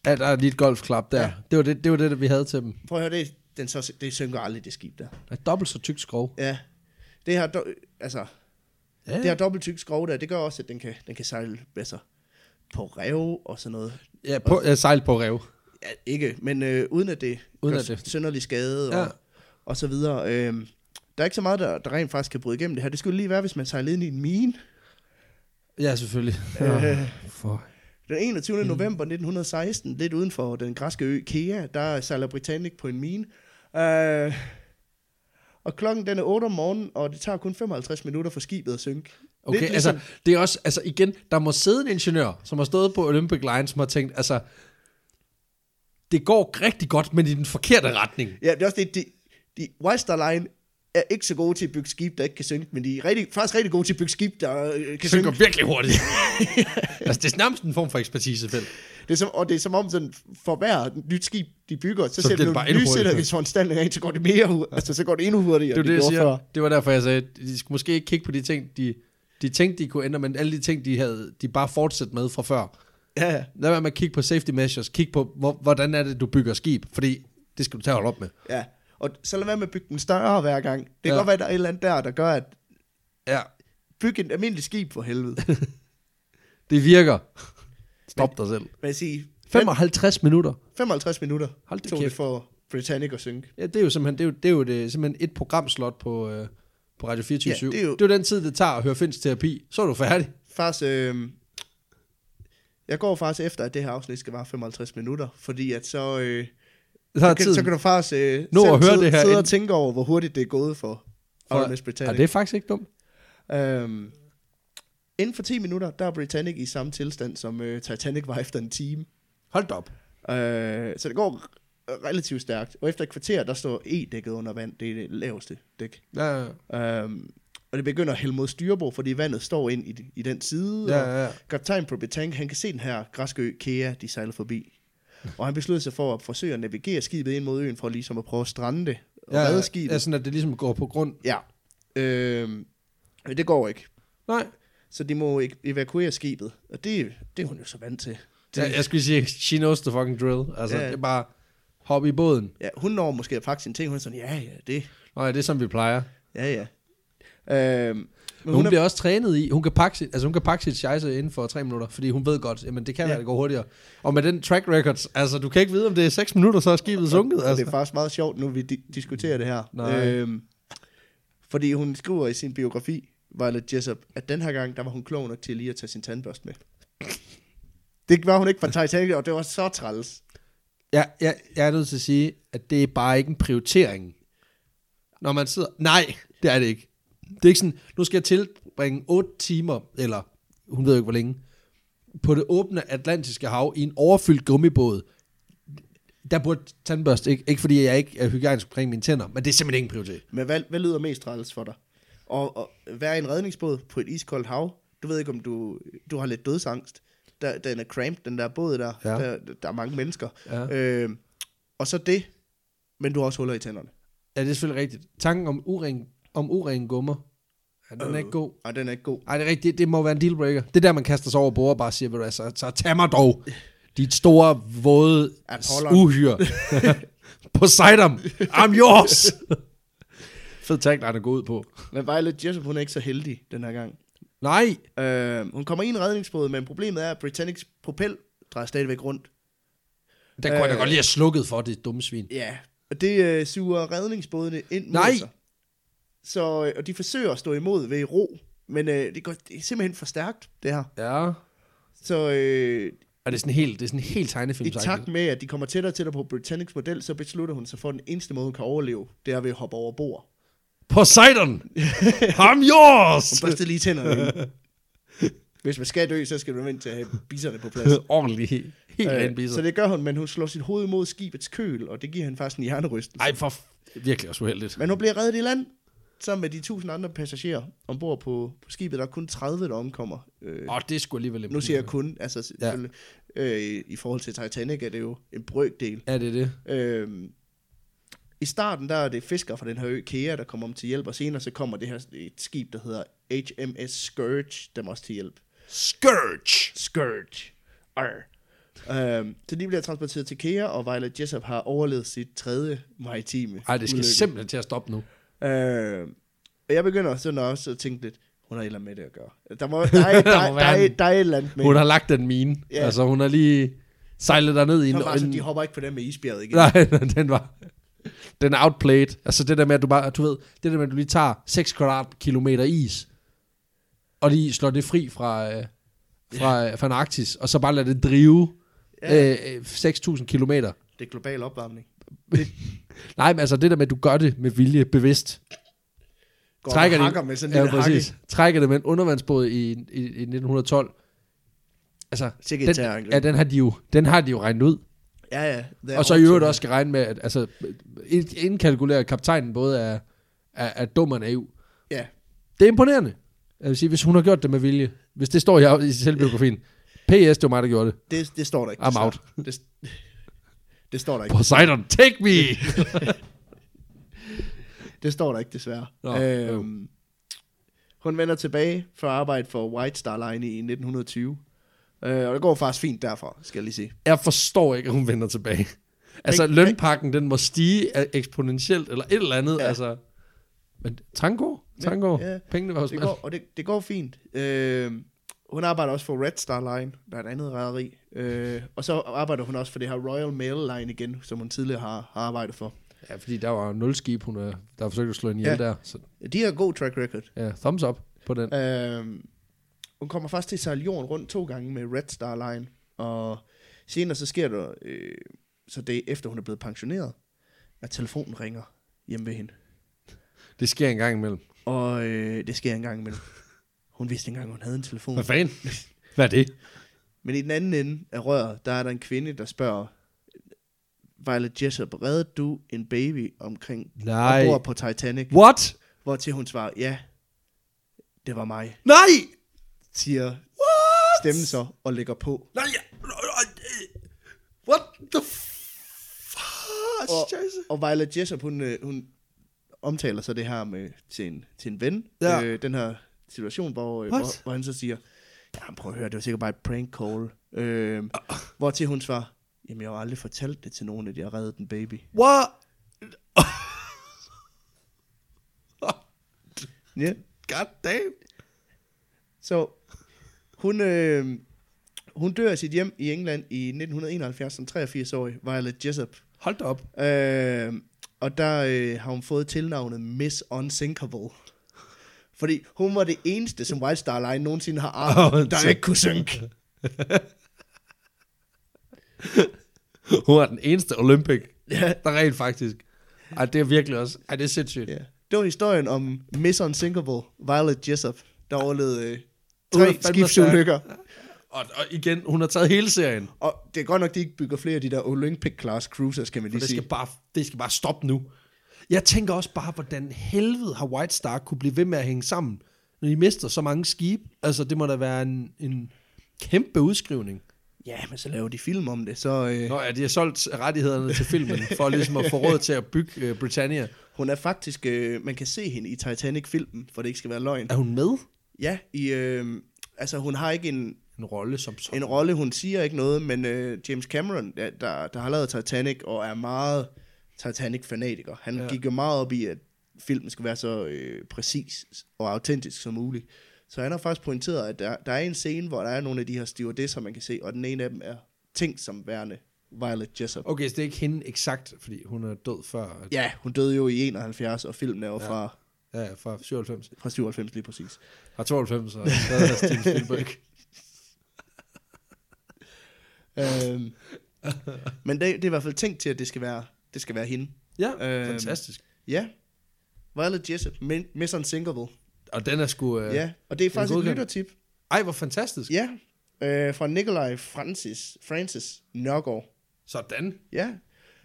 Speaker 1: at der er lige et golfklap der. Ja.
Speaker 2: Ja.
Speaker 1: Det, var det, det var det, vi havde til dem.
Speaker 2: prøv at høre, det, den så, det synker aldrig, det skib der.
Speaker 1: Et dobbelt så tyk skrov.
Speaker 2: Ja, det her, do, altså,
Speaker 1: Ja.
Speaker 2: det her dobbelt tyk skrog der, det gør også, at den kan, den kan sejle altså, på rev og sådan noget.
Speaker 1: ja, på, ja sejl på rev.
Speaker 2: Ja, ikke, men øh, uden at det
Speaker 1: Uden
Speaker 2: gør
Speaker 1: at det-
Speaker 2: synderlig skade og,
Speaker 1: Ja.
Speaker 2: ja. og så videre. Øh, der er ikke så meget, der, der rent faktisk kan bryde igennem det her. Det skulle lige være, hvis man sejlede ind i en mine.
Speaker 1: Ja, selvfølgelig.
Speaker 2: Øh.
Speaker 1: Øh. For.
Speaker 2: Den 21. Mm. november 1916, lidt uden for den græske ø Kea, der sejler Britannic på en mine. Øh, og klokken den er 8 om morgenen, og det tager kun 55 minutter for skibet at synke.
Speaker 1: Okay,
Speaker 2: lidt
Speaker 1: ligesom... altså, det er også, altså igen, der må sidde en ingeniør, som har stået på Olympic Line, som har tænkt, altså, det går rigtig godt, men i den forkerte retning.
Speaker 2: Ja, det er også det, de, de White Star Line er ikke så gode til at bygge skib, der ikke kan synke, men de er rigtig, faktisk rigtig gode til at bygge skib, der øh, kan synke.
Speaker 1: synker virkelig hurtigt. [LAUGHS] altså, det er nærmest en form for ekspertisefelt.
Speaker 2: Det er som, og det er som om, sådan, for hver nyt skib, de bygger, så,
Speaker 1: Så
Speaker 2: så
Speaker 1: bliver
Speaker 2: sætter
Speaker 1: det
Speaker 2: de
Speaker 1: bare
Speaker 2: nogle
Speaker 1: endnu
Speaker 2: nye
Speaker 1: hurtigere.
Speaker 2: sikkerhedsforanstaltninger ind, så går det mere hu- altså, så går det endnu hurtigere,
Speaker 1: Det er
Speaker 2: end
Speaker 1: det, jeg
Speaker 2: gjorde
Speaker 1: siger.
Speaker 2: før.
Speaker 1: Det var derfor, jeg sagde, at de skulle måske ikke kigge på de ting, de, de tænkte, de kunne ændre, men alle de ting, de havde, de bare fortsatte med fra før.
Speaker 2: Ja, ja.
Speaker 1: Lad være med at kigge på safety measures. Kig på, hvor, hvordan er det, du bygger skib. Fordi det skal du tage og holde op med.
Speaker 2: Ja, og så lad være med at bygge den større hver gang. Det kan
Speaker 1: Ja.
Speaker 2: ja. godt være, der er et eller andet der, der gør, at
Speaker 1: Ja,
Speaker 2: bygge et almindeligt skib for
Speaker 1: [LAUGHS]
Speaker 2: helvede.
Speaker 1: det virker. Stop dig selv.
Speaker 2: Hvad jeg sige?
Speaker 1: 55 minutter.
Speaker 2: 55 minutter
Speaker 1: Hold da
Speaker 2: tog
Speaker 1: kæft.
Speaker 2: det for Britannic at synke.
Speaker 1: Ja, det er jo simpelthen, det er jo, det er jo det, simpelthen et programslot på, øh, på Radio 24
Speaker 2: Ja, det er jo-
Speaker 1: det er jo den tid, det tager at høre Finns terapi. Så er du færdig.
Speaker 2: Faktisk, øh, jeg går faktisk efter, at det her afsnit skal vare 55 minutter, fordi at så, øh,
Speaker 1: Så er
Speaker 2: kan,
Speaker 1: tiden.
Speaker 2: så kan du faktisk øh,
Speaker 1: Nå at høre
Speaker 2: sidde,
Speaker 1: det her
Speaker 2: sidde og
Speaker 1: ind.
Speaker 2: tænke over, hvor hurtigt det er gået for,
Speaker 1: For-
Speaker 2: for RMS Britannic.
Speaker 1: Ja, det er faktisk ikke dumt.
Speaker 2: Øhm, inden for 10 minutter, der er Britannic i samme tilstand, som øh, Titanic var efter en time.
Speaker 1: Hold da op.
Speaker 2: Øh, så det går r- relativt stærkt. Og efter et kvarter, der står E-dækket under vand. Det er det laveste dæk.
Speaker 1: Ja, ja,
Speaker 2: Øhm, og det begynder at hælde mod styrbord, fordi vandet står ind i, de- i den side. og
Speaker 1: ja. ja.
Speaker 2: Kaptajn på Britannic, han kan se den her græske ø, Kea, de sejler forbi. Og han beslutter sig for at forsøge at navigere skibet ind mod øen, for ligesom at prøve at strande det. Og
Speaker 1: ja,
Speaker 2: redde skibet.
Speaker 1: Ja, sådan at det ligesom går på grund.
Speaker 2: Ja. Øhm, men det går ikke.
Speaker 1: Nej,
Speaker 2: Så de må ev- evakuere skibet, og det, det er hun jo så vant til.
Speaker 1: det, jeg, jeg skulle sige, she knows the fucking drill. Altså, ja.
Speaker 2: Ja.
Speaker 1: det er bare, Hop i båden.
Speaker 2: Ja, hun når måske at pakke sine ting. Hun er sådan, ja, ja, det.
Speaker 1: Nej, det er som vi plejer.
Speaker 2: Ja, ja. Øhm, men,
Speaker 1: Men hun, hun bliver også trænet i, hun kan pakke sit, altså hun kan pakke sit scheisse inden for tre minutter, fordi hun ved godt, jamen det kan
Speaker 2: Ja.
Speaker 1: være, det går hurtigere. Og med den track records, altså du kan ikke vide, om det er 6 minutter, så er skibet sunket.
Speaker 2: Og Det er
Speaker 1: Altså.
Speaker 2: faktisk meget sjovt, nu vi di- diskuterer det her.
Speaker 1: Nej.
Speaker 2: Øhm, fordi hun skriver i sin biografi, Violet Jessup, at den her gang, der var hun klog nok til lige at tage sin tandbørste med. Det var hun ikke fra Titanic, og det var så træls.
Speaker 1: Jeg, jeg, jeg er nødt til at sige, at det er bare ikke en prioritering. Når man sidder, nej, det er det ikke. Det er ikke sådan, nu skal jeg tilbringe 8 timer, eller hun ved jo ikke hvor længe, på det åbne Atlantiske Hav i en overfyldt gummibåd. Der burde tandbørste, ikke, ikke fordi jeg ikke er hygiejnisk omkring mine tænder, men det er simpelthen ikke en prioritet.
Speaker 2: Men hvad, hvad lyder mest træls for dig? Og, og være i en redningsbåd på et iskoldt hav, du ved ikke, om du, du har lidt dødsangst. Der, den er cramped, den der båd der.
Speaker 1: Ja.
Speaker 2: Der, der er mange mennesker.
Speaker 1: Ja.
Speaker 2: Øhm, og så det, men du har også huller i tænderne.
Speaker 1: Ja, det er selvfølgelig rigtigt. Tanken om uren, om uren gummer, ja, den er ikke god.
Speaker 2: Og den er ikke god.
Speaker 1: Ej, det er rigtigt. Det, det må være en dealbreaker. Det er der, man kaster sig over bord og bare siger, ved du hvad, så, så tag mig dog. Dit store, våde
Speaker 2: Apollon.
Speaker 1: [LAUGHS] uhyre. Poseidon, I'm yours. [LAUGHS] Fed tagline at gå ud på.
Speaker 2: Men Violet Jessup, hun er ikke så heldig den her gang.
Speaker 1: Nej,
Speaker 2: Øh, hun kommer i en redningsbåd, men problemet er, at Britannics propel drejer stadigvæk rundt.
Speaker 1: der kunne øh. jeg da
Speaker 2: Øh.
Speaker 1: godt lige have slukket for det dumme svin.
Speaker 2: Ja. Og det øh, suger redningsbådene ind mod
Speaker 1: Nej.
Speaker 2: sig. Så, øh, og de forsøger at stå imod ved ro, men øh, det, går, det er simpelthen for stærkt, det her.
Speaker 1: Ja.
Speaker 2: Så øh,
Speaker 1: Og det er sådan helt, det er sådan helt tegnefilm.
Speaker 2: i takt med, at de kommer tættere og tættere på Britannics model, så beslutter hun sig for, at den eneste måde, hun kan overleve, det er ved at hoppe over bord.
Speaker 1: Poseidon, I'm [LAUGHS] yours.
Speaker 2: Børste lige tænderne. ind.
Speaker 1: [LAUGHS]
Speaker 2: Hvis man skal dø, så skal man vente til at have bisserne på plads.
Speaker 1: Ordentligt. [LAUGHS] Helt øh,
Speaker 2: Øh,
Speaker 1: renbisset.
Speaker 2: så det gør hun, men hun slår sit hoved mod skibets køl, og det giver hende faktisk en hjernerystelse.
Speaker 1: Ej, for f- virkelig også uheldigt.
Speaker 2: Men hun bliver reddet i land, sammen med de tusind andre passagerer ombord på, på skibet. Der er kun 30, der omkommer. Øh,
Speaker 1: Åh, det skulle alligevel
Speaker 2: nu siger jeg kun, altså selvfølgelig, øh, i- i forhold til Titanic er det jo en brøkdel.
Speaker 1: Ja, det er det.
Speaker 2: Øh, I starten, der er det fiskere fra den her ø, Kea, der kommer om til hjælp, og senere så kommer det her et skib, der hedder HMS Scourge, dem også til hjælp.
Speaker 1: Scourge.
Speaker 2: Scourge. Arr. Øhm, så de bliver transporteret til Kea, og Violet Jessup har overlevet sit tredje maritime
Speaker 1: Ej, det skal Ulykke. simpelthen til at stoppe nu.
Speaker 2: Øh, og jeg begynder sådan også at tænke lidt, hun har et eller andet med det at gøre. Der,
Speaker 1: [LAUGHS]
Speaker 2: må, der, er, der,
Speaker 1: Der
Speaker 2: der,
Speaker 1: må
Speaker 2: der,
Speaker 1: være
Speaker 2: er,
Speaker 1: en-
Speaker 2: der er et eller andet med.
Speaker 1: Hun har lagt den mine.
Speaker 2: Ja.
Speaker 1: Altså, hun har lige sejlet derned i en...
Speaker 2: Så bare, så
Speaker 1: en- [LAUGHS]
Speaker 2: altså, de hopper ikke på den med isbjerget igen.
Speaker 1: Nej, den var... Den er outplayed. Altså det der med, at du bare... Du ved, det der med, at du lige tager 6 kvadratkilometer is, og lige slår det fri fra, øh, fra, øh, fra Antarktis, og så bare lader det drive
Speaker 2: Ja.
Speaker 1: øh, øh, 6.000 kilometer.
Speaker 2: Det er global opvarmning.
Speaker 1: Nej, men altså det der med, at du gør det med vilje, bevidst.
Speaker 2: Går
Speaker 1: Trækker
Speaker 2: Trækker
Speaker 1: det-
Speaker 2: og hakker med sådan en ja, lille hakke.
Speaker 1: Trækker det med en undervandsbåd i, i, i 1912. Altså,
Speaker 2: Sikke et
Speaker 1: den,
Speaker 2: terrorangreb.
Speaker 1: ja, den, har de jo, den har de jo regnet ud.
Speaker 2: Ja, ja. det er
Speaker 1: Og så i øvrigt
Speaker 2: overtog.
Speaker 1: også skal regne med, at altså, ind- indkalkulere at kaptajnen både er, er, er dum og naiv.
Speaker 2: Ja,
Speaker 1: Det er imponerende. Jeg vil sige, hvis hun har gjort det med vilje. Hvis det står i, i selvbiografien. PS, det var mig, der gjorde det.
Speaker 2: det, det står der ikke.
Speaker 1: I'm
Speaker 2: desværre.
Speaker 1: out.
Speaker 2: Det, det står der ikke.
Speaker 1: Poseidon, take me!
Speaker 2: Det står der ikke, desværre.
Speaker 1: Nå,
Speaker 2: øhm, hun vender tilbage for at arbejde for White Star Line i 1920. Øh, og det går faktisk fint derfra, skal jeg lige sige.
Speaker 1: Jeg forstår ikke, at hun vender tilbage. Altså,
Speaker 2: Men-
Speaker 1: lønpakken, den må stige øh, eksponentielt, eller et eller andet. Ja.
Speaker 2: Ja.
Speaker 1: Altså. Men tango, tango.
Speaker 2: ja.
Speaker 1: Ja. Pengene var hos
Speaker 2: det
Speaker 1: manden.
Speaker 2: går, og det, det går fint. Øh, hun arbejder også for Red Star Line, der er et andet rederi. Øh, og så arbejder hun også for det her Royal Mail Line igen, som hun tidligere har, har arbejdet for.
Speaker 1: Ja, fordi der var nul skib, hun, øh, der forsøgte at slå en ihjel ja.
Speaker 2: Ja.
Speaker 1: der. Så
Speaker 2: De har god track record.
Speaker 1: ja, thumbs up på den.
Speaker 2: Øh, hun kommer først til Sejl Jorden rundt to gange med Red Star Line, og senere så sker der, øh, så det er efter hun er blevet pensioneret, at telefonen ringer hjemme ved hende.
Speaker 1: Det sker en gang imellem.
Speaker 2: Og øh, det sker en gang imellem. Hun vidste ikke engang, hun havde en telefon.
Speaker 1: Hvad fanden? [LAUGHS] Hvad er det?
Speaker 2: Men i den anden ende af røret, der er der en kvinde, der spørger, Violet Jessup, reddede du en baby omkring
Speaker 1: Nej.
Speaker 2: ombord på Titanic?
Speaker 1: What?
Speaker 2: Hvor til hun svarer, ja, det var mig,
Speaker 1: Nej!
Speaker 2: siger
Speaker 1: What?
Speaker 2: stemmen så og lægger på.
Speaker 1: Nej, ja. What the fuck?
Speaker 2: Og,
Speaker 1: Scheisse.
Speaker 2: og Violet Jessup, hun, øh, hun omtaler så det her med til en, til en ven,
Speaker 1: Ja.
Speaker 2: øh, den her situation, hvor, øh,
Speaker 1: What?
Speaker 2: hvor, hvor han så siger, jamen prøv at høre, det var sikkert bare et prank call. Øh, hvor til hun svarer, Jamen, jeg har jo aldrig fortalt det til nogen, at jeg reddede den baby.
Speaker 1: What?
Speaker 2: Ja.
Speaker 1: God damn.
Speaker 2: Så hun, øh, hun dør i sit hjem i England i 1971 som 83-årig, Violet Jessup.
Speaker 1: Hold da op.
Speaker 2: Øh, og der øh, har hun fået tilnavnet Miss Unsinkable. Fordi hun var det eneste, som White Star Line nogensinde har arvet,
Speaker 1: Åh,
Speaker 2: der
Speaker 1: så-
Speaker 2: ikke kunne synke.
Speaker 1: [LAUGHS] Hun er den eneste Olympic,
Speaker 2: Ja.
Speaker 1: der rent faktisk. Ej, det er virkelig også... Ej, det er sindssygt.
Speaker 2: Ja. Det var historien om Miss Unsinkable, Violet Jessup, der overlevede øh,
Speaker 1: Hun er fandme
Speaker 2: tre skibsulykker.
Speaker 1: Og, og igen, hun har taget hele serien.
Speaker 2: Og det er godt nok, de ikke bygger flere af de der Olympic-class cruisers, kan man
Speaker 1: For
Speaker 2: lige
Speaker 1: det
Speaker 2: sige.
Speaker 1: skal, bare, det skal bare stoppe nu. Jeg tænker også bare, hvordan helvede har White Star kunne blive ved med at hænge sammen, når de mister så mange skibe. Altså, det må da være en, en kæmpe udskrivning.
Speaker 2: Ja, men så laver de film om det, så... Øh,
Speaker 1: Nå ja, de har solgt rettighederne til filmen, for ligesom at få råd til at bygge uh, Britannia.
Speaker 2: Hun er faktisk, øh, man kan se hende i Titanic-filmen, for det ikke skal være løgn.
Speaker 1: Er hun med?
Speaker 2: Ja, i, øh, altså hun har ikke en,
Speaker 1: En rolle som sådan.
Speaker 2: en rolle, hun siger ikke noget, men øh, James Cameron, der, der, der har lavet Titanic og er meget Titanic-fanatiker, han
Speaker 1: Ja.
Speaker 2: ja. gik jo meget op i, at filmen skal være så øh, præcis og autentisk som muligt. Så han har faktisk pointeret, at der, der er en scene, hvor der er nogle af de her stewardesser, man kan se, og den ene af dem er tænkt som værende Violet Jessup.
Speaker 1: Okay, så det er ikke hende eksakt, fordi hun er død før. at-
Speaker 2: Ja, hun døde jo i 71, og filmen er jo ja. fra,
Speaker 1: Ja, fra 97.
Speaker 2: fra 97 lige præcis.
Speaker 1: Fra 92, og stadig er [LAUGHS] Steven Spielberg.
Speaker 2: øhm, men det, det er i hvert fald tænkt til, at det skal være, det skal være hende.
Speaker 1: Ja,
Speaker 2: Øhm.
Speaker 1: fantastisk.
Speaker 2: Ja. Violet Jessup, men- Miss Unsinkable.
Speaker 1: Og den er sgu... Øh...
Speaker 2: Ja. ja. Og det er
Speaker 1: Den er
Speaker 2: faktisk et
Speaker 1: godkendt.
Speaker 2: lyttertip.
Speaker 1: Ej, hvor fantastisk.
Speaker 2: Ja. Øh, fra Nikolaj Francis, Francis Nørgaard.
Speaker 1: Sådan.
Speaker 2: Ja.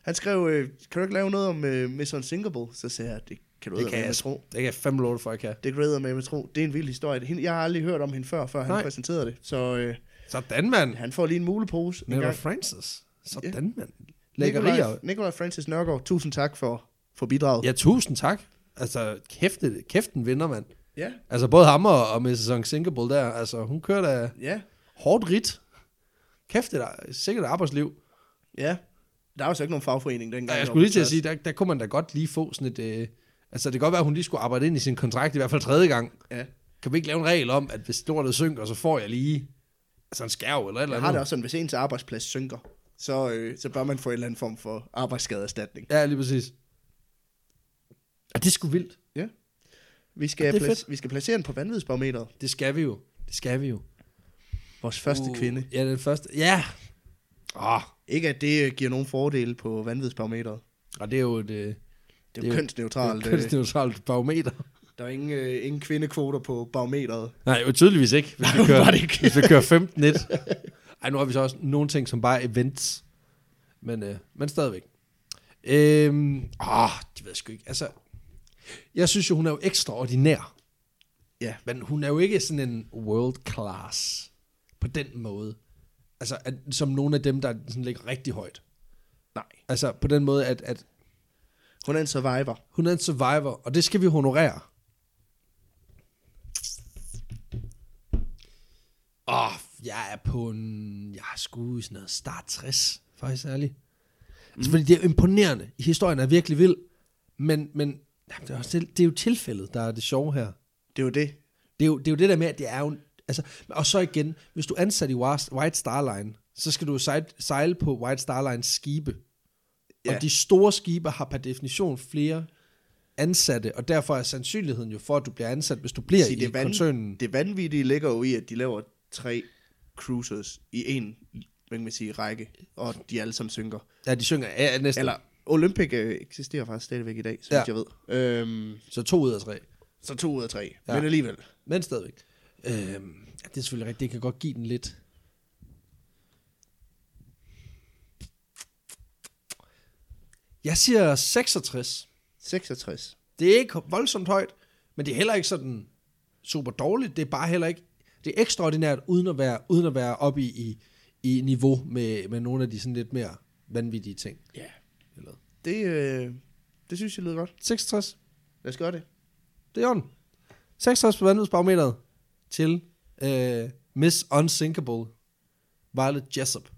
Speaker 2: Han skrev, øh, kan du ikke lave noget om øh, Miss Unsinkable? Så sagde jeg, det kan du
Speaker 1: Det
Speaker 2: ikke
Speaker 1: kan jeg
Speaker 2: med
Speaker 1: tro.
Speaker 2: tro.
Speaker 1: Det kan jeg fandme love dig for, jeg kan.
Speaker 2: Det græder med, med tro. Det er en vild historie. Hende- Jeg har aldrig hørt om hende før, før
Speaker 1: Nej.
Speaker 2: han præsenterede det. Så øh,
Speaker 1: Sådan, mand.
Speaker 2: han får lige en mulepose. en
Speaker 1: Never
Speaker 2: gang.
Speaker 1: Francis. Sådan,
Speaker 2: Ja.
Speaker 1: mand.
Speaker 2: Nikolaj,
Speaker 1: Lækkerier.
Speaker 2: Nikolaj Francis Nørgaard, tusind tak for, for bidraget.
Speaker 1: Ja, tusind tak. Altså, kæft, det- kæft en vinder, mand.
Speaker 2: ja.
Speaker 1: Altså, både ham og, og Mrs. Unsinkable der, altså, hun kører da
Speaker 2: Ja,
Speaker 1: hårdt rigt. Kæft, det er da sikkert arbejdsliv.
Speaker 2: ja. Der var så ikke nogen fagforening dengang.
Speaker 1: Ja, jeg skulle lige til at sige, der, der kunne man da godt lige få sådan et... Øh, altså, det kan godt være, at hun lige skulle arbejde ind i sin kontrakt, i hvert fald tredje gang.
Speaker 2: Ja.
Speaker 1: Kan vi ikke lave en regel om, at hvis lortet synker, så får jeg lige altså en skærv eller et eller
Speaker 2: Jeg
Speaker 1: andet?
Speaker 2: har det også sådan, hvis ens arbejdsplads synker, så, øh, så bør man få en eller anden form for arbejdsskadeerstatning.
Speaker 1: Ja, lige præcis. Ja, det er sgu vildt.
Speaker 2: Ja. Vi skal,
Speaker 1: Ja, det er
Speaker 2: plac- vi skal placere den på vanvidsbarometeret.
Speaker 1: Det skal vi jo. Det skal vi jo.
Speaker 2: Vores første uh. kvinde.
Speaker 1: Ja, den første. Ja. Åh,
Speaker 2: Ikke at det øh, giver nogen fordele på vanvidsbarometeret.
Speaker 1: og det er jo et, øh,
Speaker 2: Det
Speaker 1: Det
Speaker 2: er
Speaker 1: er
Speaker 2: jo
Speaker 1: jo- [LAUGHS]
Speaker 2: kønsneutralt.
Speaker 1: et
Speaker 2: øh.
Speaker 1: kønsneutralt barometer.
Speaker 2: Der er ingen, øh, ingen kvindekvoter på barometeret.
Speaker 1: Nej, jo tydeligvis ikke, hvis vi kører, hvis vi kører 15 1 [LAUGHS] Ej, nu har vi så også nogle ting, som bare er events. Men, øh, men stadigvæk. Øhm, åh, det ved jeg sgu ikke. Altså, jeg synes jo, hun er jo ekstraordinær.
Speaker 2: Ja.
Speaker 1: Men hun er jo ikke sådan en world class på den måde. Altså, at, som nogle af dem, der sådan ligger rigtig højt.
Speaker 2: Nej.
Speaker 1: Altså, på den måde, at, at
Speaker 2: Hun er en survivor.
Speaker 1: hun er en survivor, og det skal vi honorere. Åh, oh, jeg er på en... Jeg er sgu i sådan noget start 60, faktisk ærligt. Altså, fordi det er jo imponerende. Historien er virkelig vild. Men, men jamen, det, er også, det er jo tilfældet, der er det sjove her.
Speaker 2: Det er jo det.
Speaker 1: Det er jo det, er jo det der med, at det er jo... en- Altså, og så igen, hvis du er ansat i Wa- White Star Line, så skal du jo sej- sejle på White Star Lines skibe. Ja.
Speaker 2: Ja.
Speaker 1: Og de store skibe har per definition flere ansatte, og derfor er sandsynligheden jo for, at du bliver ansat, hvis du bliver
Speaker 2: Sige,
Speaker 1: i
Speaker 2: det, van-
Speaker 1: koncernen.
Speaker 2: det vanvittige ligger jo i, at de laver tre cruisers i en hvad kan man sige, række, og de alle sammen synker.
Speaker 1: Ja, de synger ja, næsten.
Speaker 2: Eller Olympic øh, eksisterer faktisk stadigvæk i dag, så
Speaker 1: Ja.
Speaker 2: ja. jeg ved. Øhm,
Speaker 1: Så to ud af tre.
Speaker 2: så to ud af tre,
Speaker 1: Ja.
Speaker 2: ja. men alligevel.
Speaker 1: Men stadigvæk. Øhm, ja, det er selvfølgelig rigtigt. Det kan godt give den lidt. Jeg siger 66.
Speaker 2: 66.
Speaker 1: Det er ikke voldsomt højt, men det er heller ikke sådan super dårligt. Det er bare heller ikke... Det er ekstraordinært, uden at være, uden at være oppe i, i, i niveau med, med nogle af de sådan lidt mere vanvittige ting.
Speaker 2: Ja.
Speaker 1: Eller
Speaker 2: Det, øh, det synes jeg lyder godt.
Speaker 1: 66.
Speaker 2: Lad os gøre det.
Speaker 1: Det er orden. 66 på vanvidsbarometeret til øh, Miss Unsinkable Violet Jessup.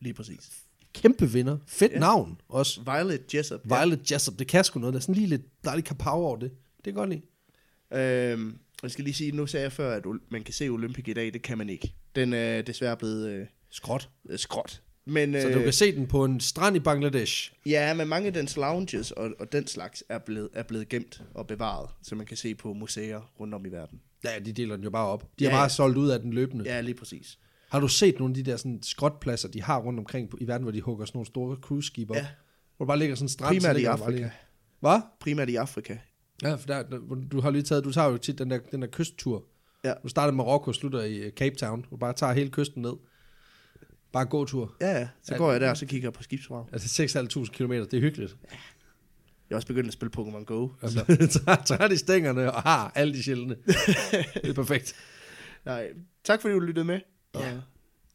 Speaker 2: Lige præcis.
Speaker 1: Kæmpe vinder. Fedt
Speaker 2: Ja.
Speaker 1: ja. navn også.
Speaker 2: Violet Jessup. ja.
Speaker 1: Violet Jessup, det kan sgu noget. Der er sådan lige lidt dejlig kapav over det. Det kan jeg godt lide.
Speaker 2: Øhm, jeg skal lige sige, nu sagde jeg før, at ol- man kan se Olympic i dag, det kan man ikke. Den er desværre blevet øh,
Speaker 1: Skråt.
Speaker 2: øh, skråt. Men, øh,
Speaker 1: Så du kan se den på en strand i Bangladesh.
Speaker 2: Ja, men mange af dens lounges og, og den slags er blevet, er blevet gemt og bevaret, så man kan se på museer rundt om i verden.
Speaker 1: Ja, de deler den jo bare op. De
Speaker 2: Ja,
Speaker 1: har bare
Speaker 2: ja.
Speaker 1: solgt ud af den løbende.
Speaker 2: Ja, lige præcis.
Speaker 1: Har du set nogle af de der sådan, skrotpladser, de har rundt omkring på, i verden, hvor de hugger sådan nogle store cruiseskibe op?
Speaker 2: Ja.
Speaker 1: Ja. Hvor der bare ligger sådan en strand. så
Speaker 2: Primært i
Speaker 1: ligger der bare
Speaker 2: Afrika.
Speaker 1: lige- Hvad?
Speaker 2: Primært i Afrika.
Speaker 1: Ja, for der, der, hvor du har lige taget, du tager jo tit den der, den der kysttur.
Speaker 2: Ja.
Speaker 1: Du starter i Marokko og slutter i øh, Cape Town. Du bare tager hele kysten ned. Bare gåtur.
Speaker 2: Ja, ja. Så
Speaker 1: Ja.
Speaker 2: går jeg der, og så kigger jeg på skibsvrag.
Speaker 1: Altså 6.500 km, det er hyggeligt.
Speaker 2: Jeg er også begyndt at spille Pokémon Go.
Speaker 1: Altså, [LAUGHS] tager- tager de stængerne og har alle de [LAUGHS] sjældne. det er perfekt.
Speaker 2: Nej, tak fordi du lyttede med.
Speaker 1: Ja.
Speaker 2: Og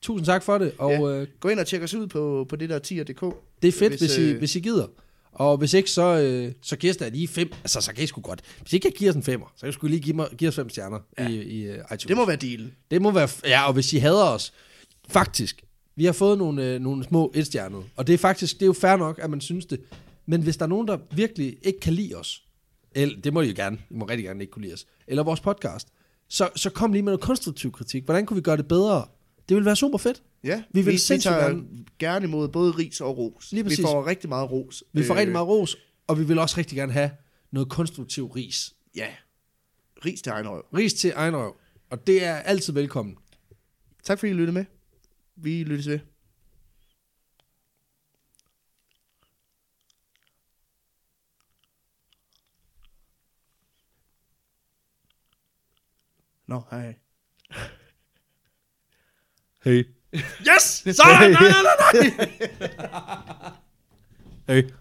Speaker 1: Tusind tak for det, og ja. øh,
Speaker 2: Gå ind og tjek os ud på, på det der tier.dk.
Speaker 1: det er fedt,
Speaker 2: Hvis,
Speaker 1: hvis, hvis, I,
Speaker 2: øh,
Speaker 1: hvis I gider. Og hvis ikke, så, øh, så giver os da lige fem. Altså, så kan I sgu godt. Hvis I ikke kan give os en femmer, så kan I sgu lige give, mig, give os fem stjerner ja. i, i øh, iTunes.
Speaker 2: Det må være dealen.
Speaker 1: Det må være... f- Ja, og hvis I hader os... Faktisk, vi har fået nogle, øh, nogle små etstjernede, og det er faktisk, det er jo fair nok, at man synes det. Men hvis der er nogen, der virkelig ikke kan lide os, eller, det må I jo gerne, I må rigtig gerne ikke kunne lide os, eller vores podcast, så, så kom lige med noget konstruktiv kritik. Hvordan kunne vi gøre det bedre? Det ville være super fedt.
Speaker 2: Ja,
Speaker 1: Vi vil
Speaker 2: vi, vi
Speaker 1: sindssygt
Speaker 2: tager gerne.
Speaker 1: gerne-
Speaker 2: imod både ris og ros.
Speaker 1: Lige
Speaker 2: vi
Speaker 1: præcis.
Speaker 2: får rigtig meget ros.
Speaker 1: Vi får øh. rigtig meget ros, og vi vil også rigtig gerne have noget konstruktiv ris.
Speaker 2: Ja, ris til egen røv.
Speaker 1: Ris til egen røv, og det er altid velkommen.
Speaker 2: Tak fordi I lyttede med. Vi lyttes ved. Nå, hej.
Speaker 1: Hey.
Speaker 2: Yes!
Speaker 1: Sådan, nej, nej, nej, nej! Hey.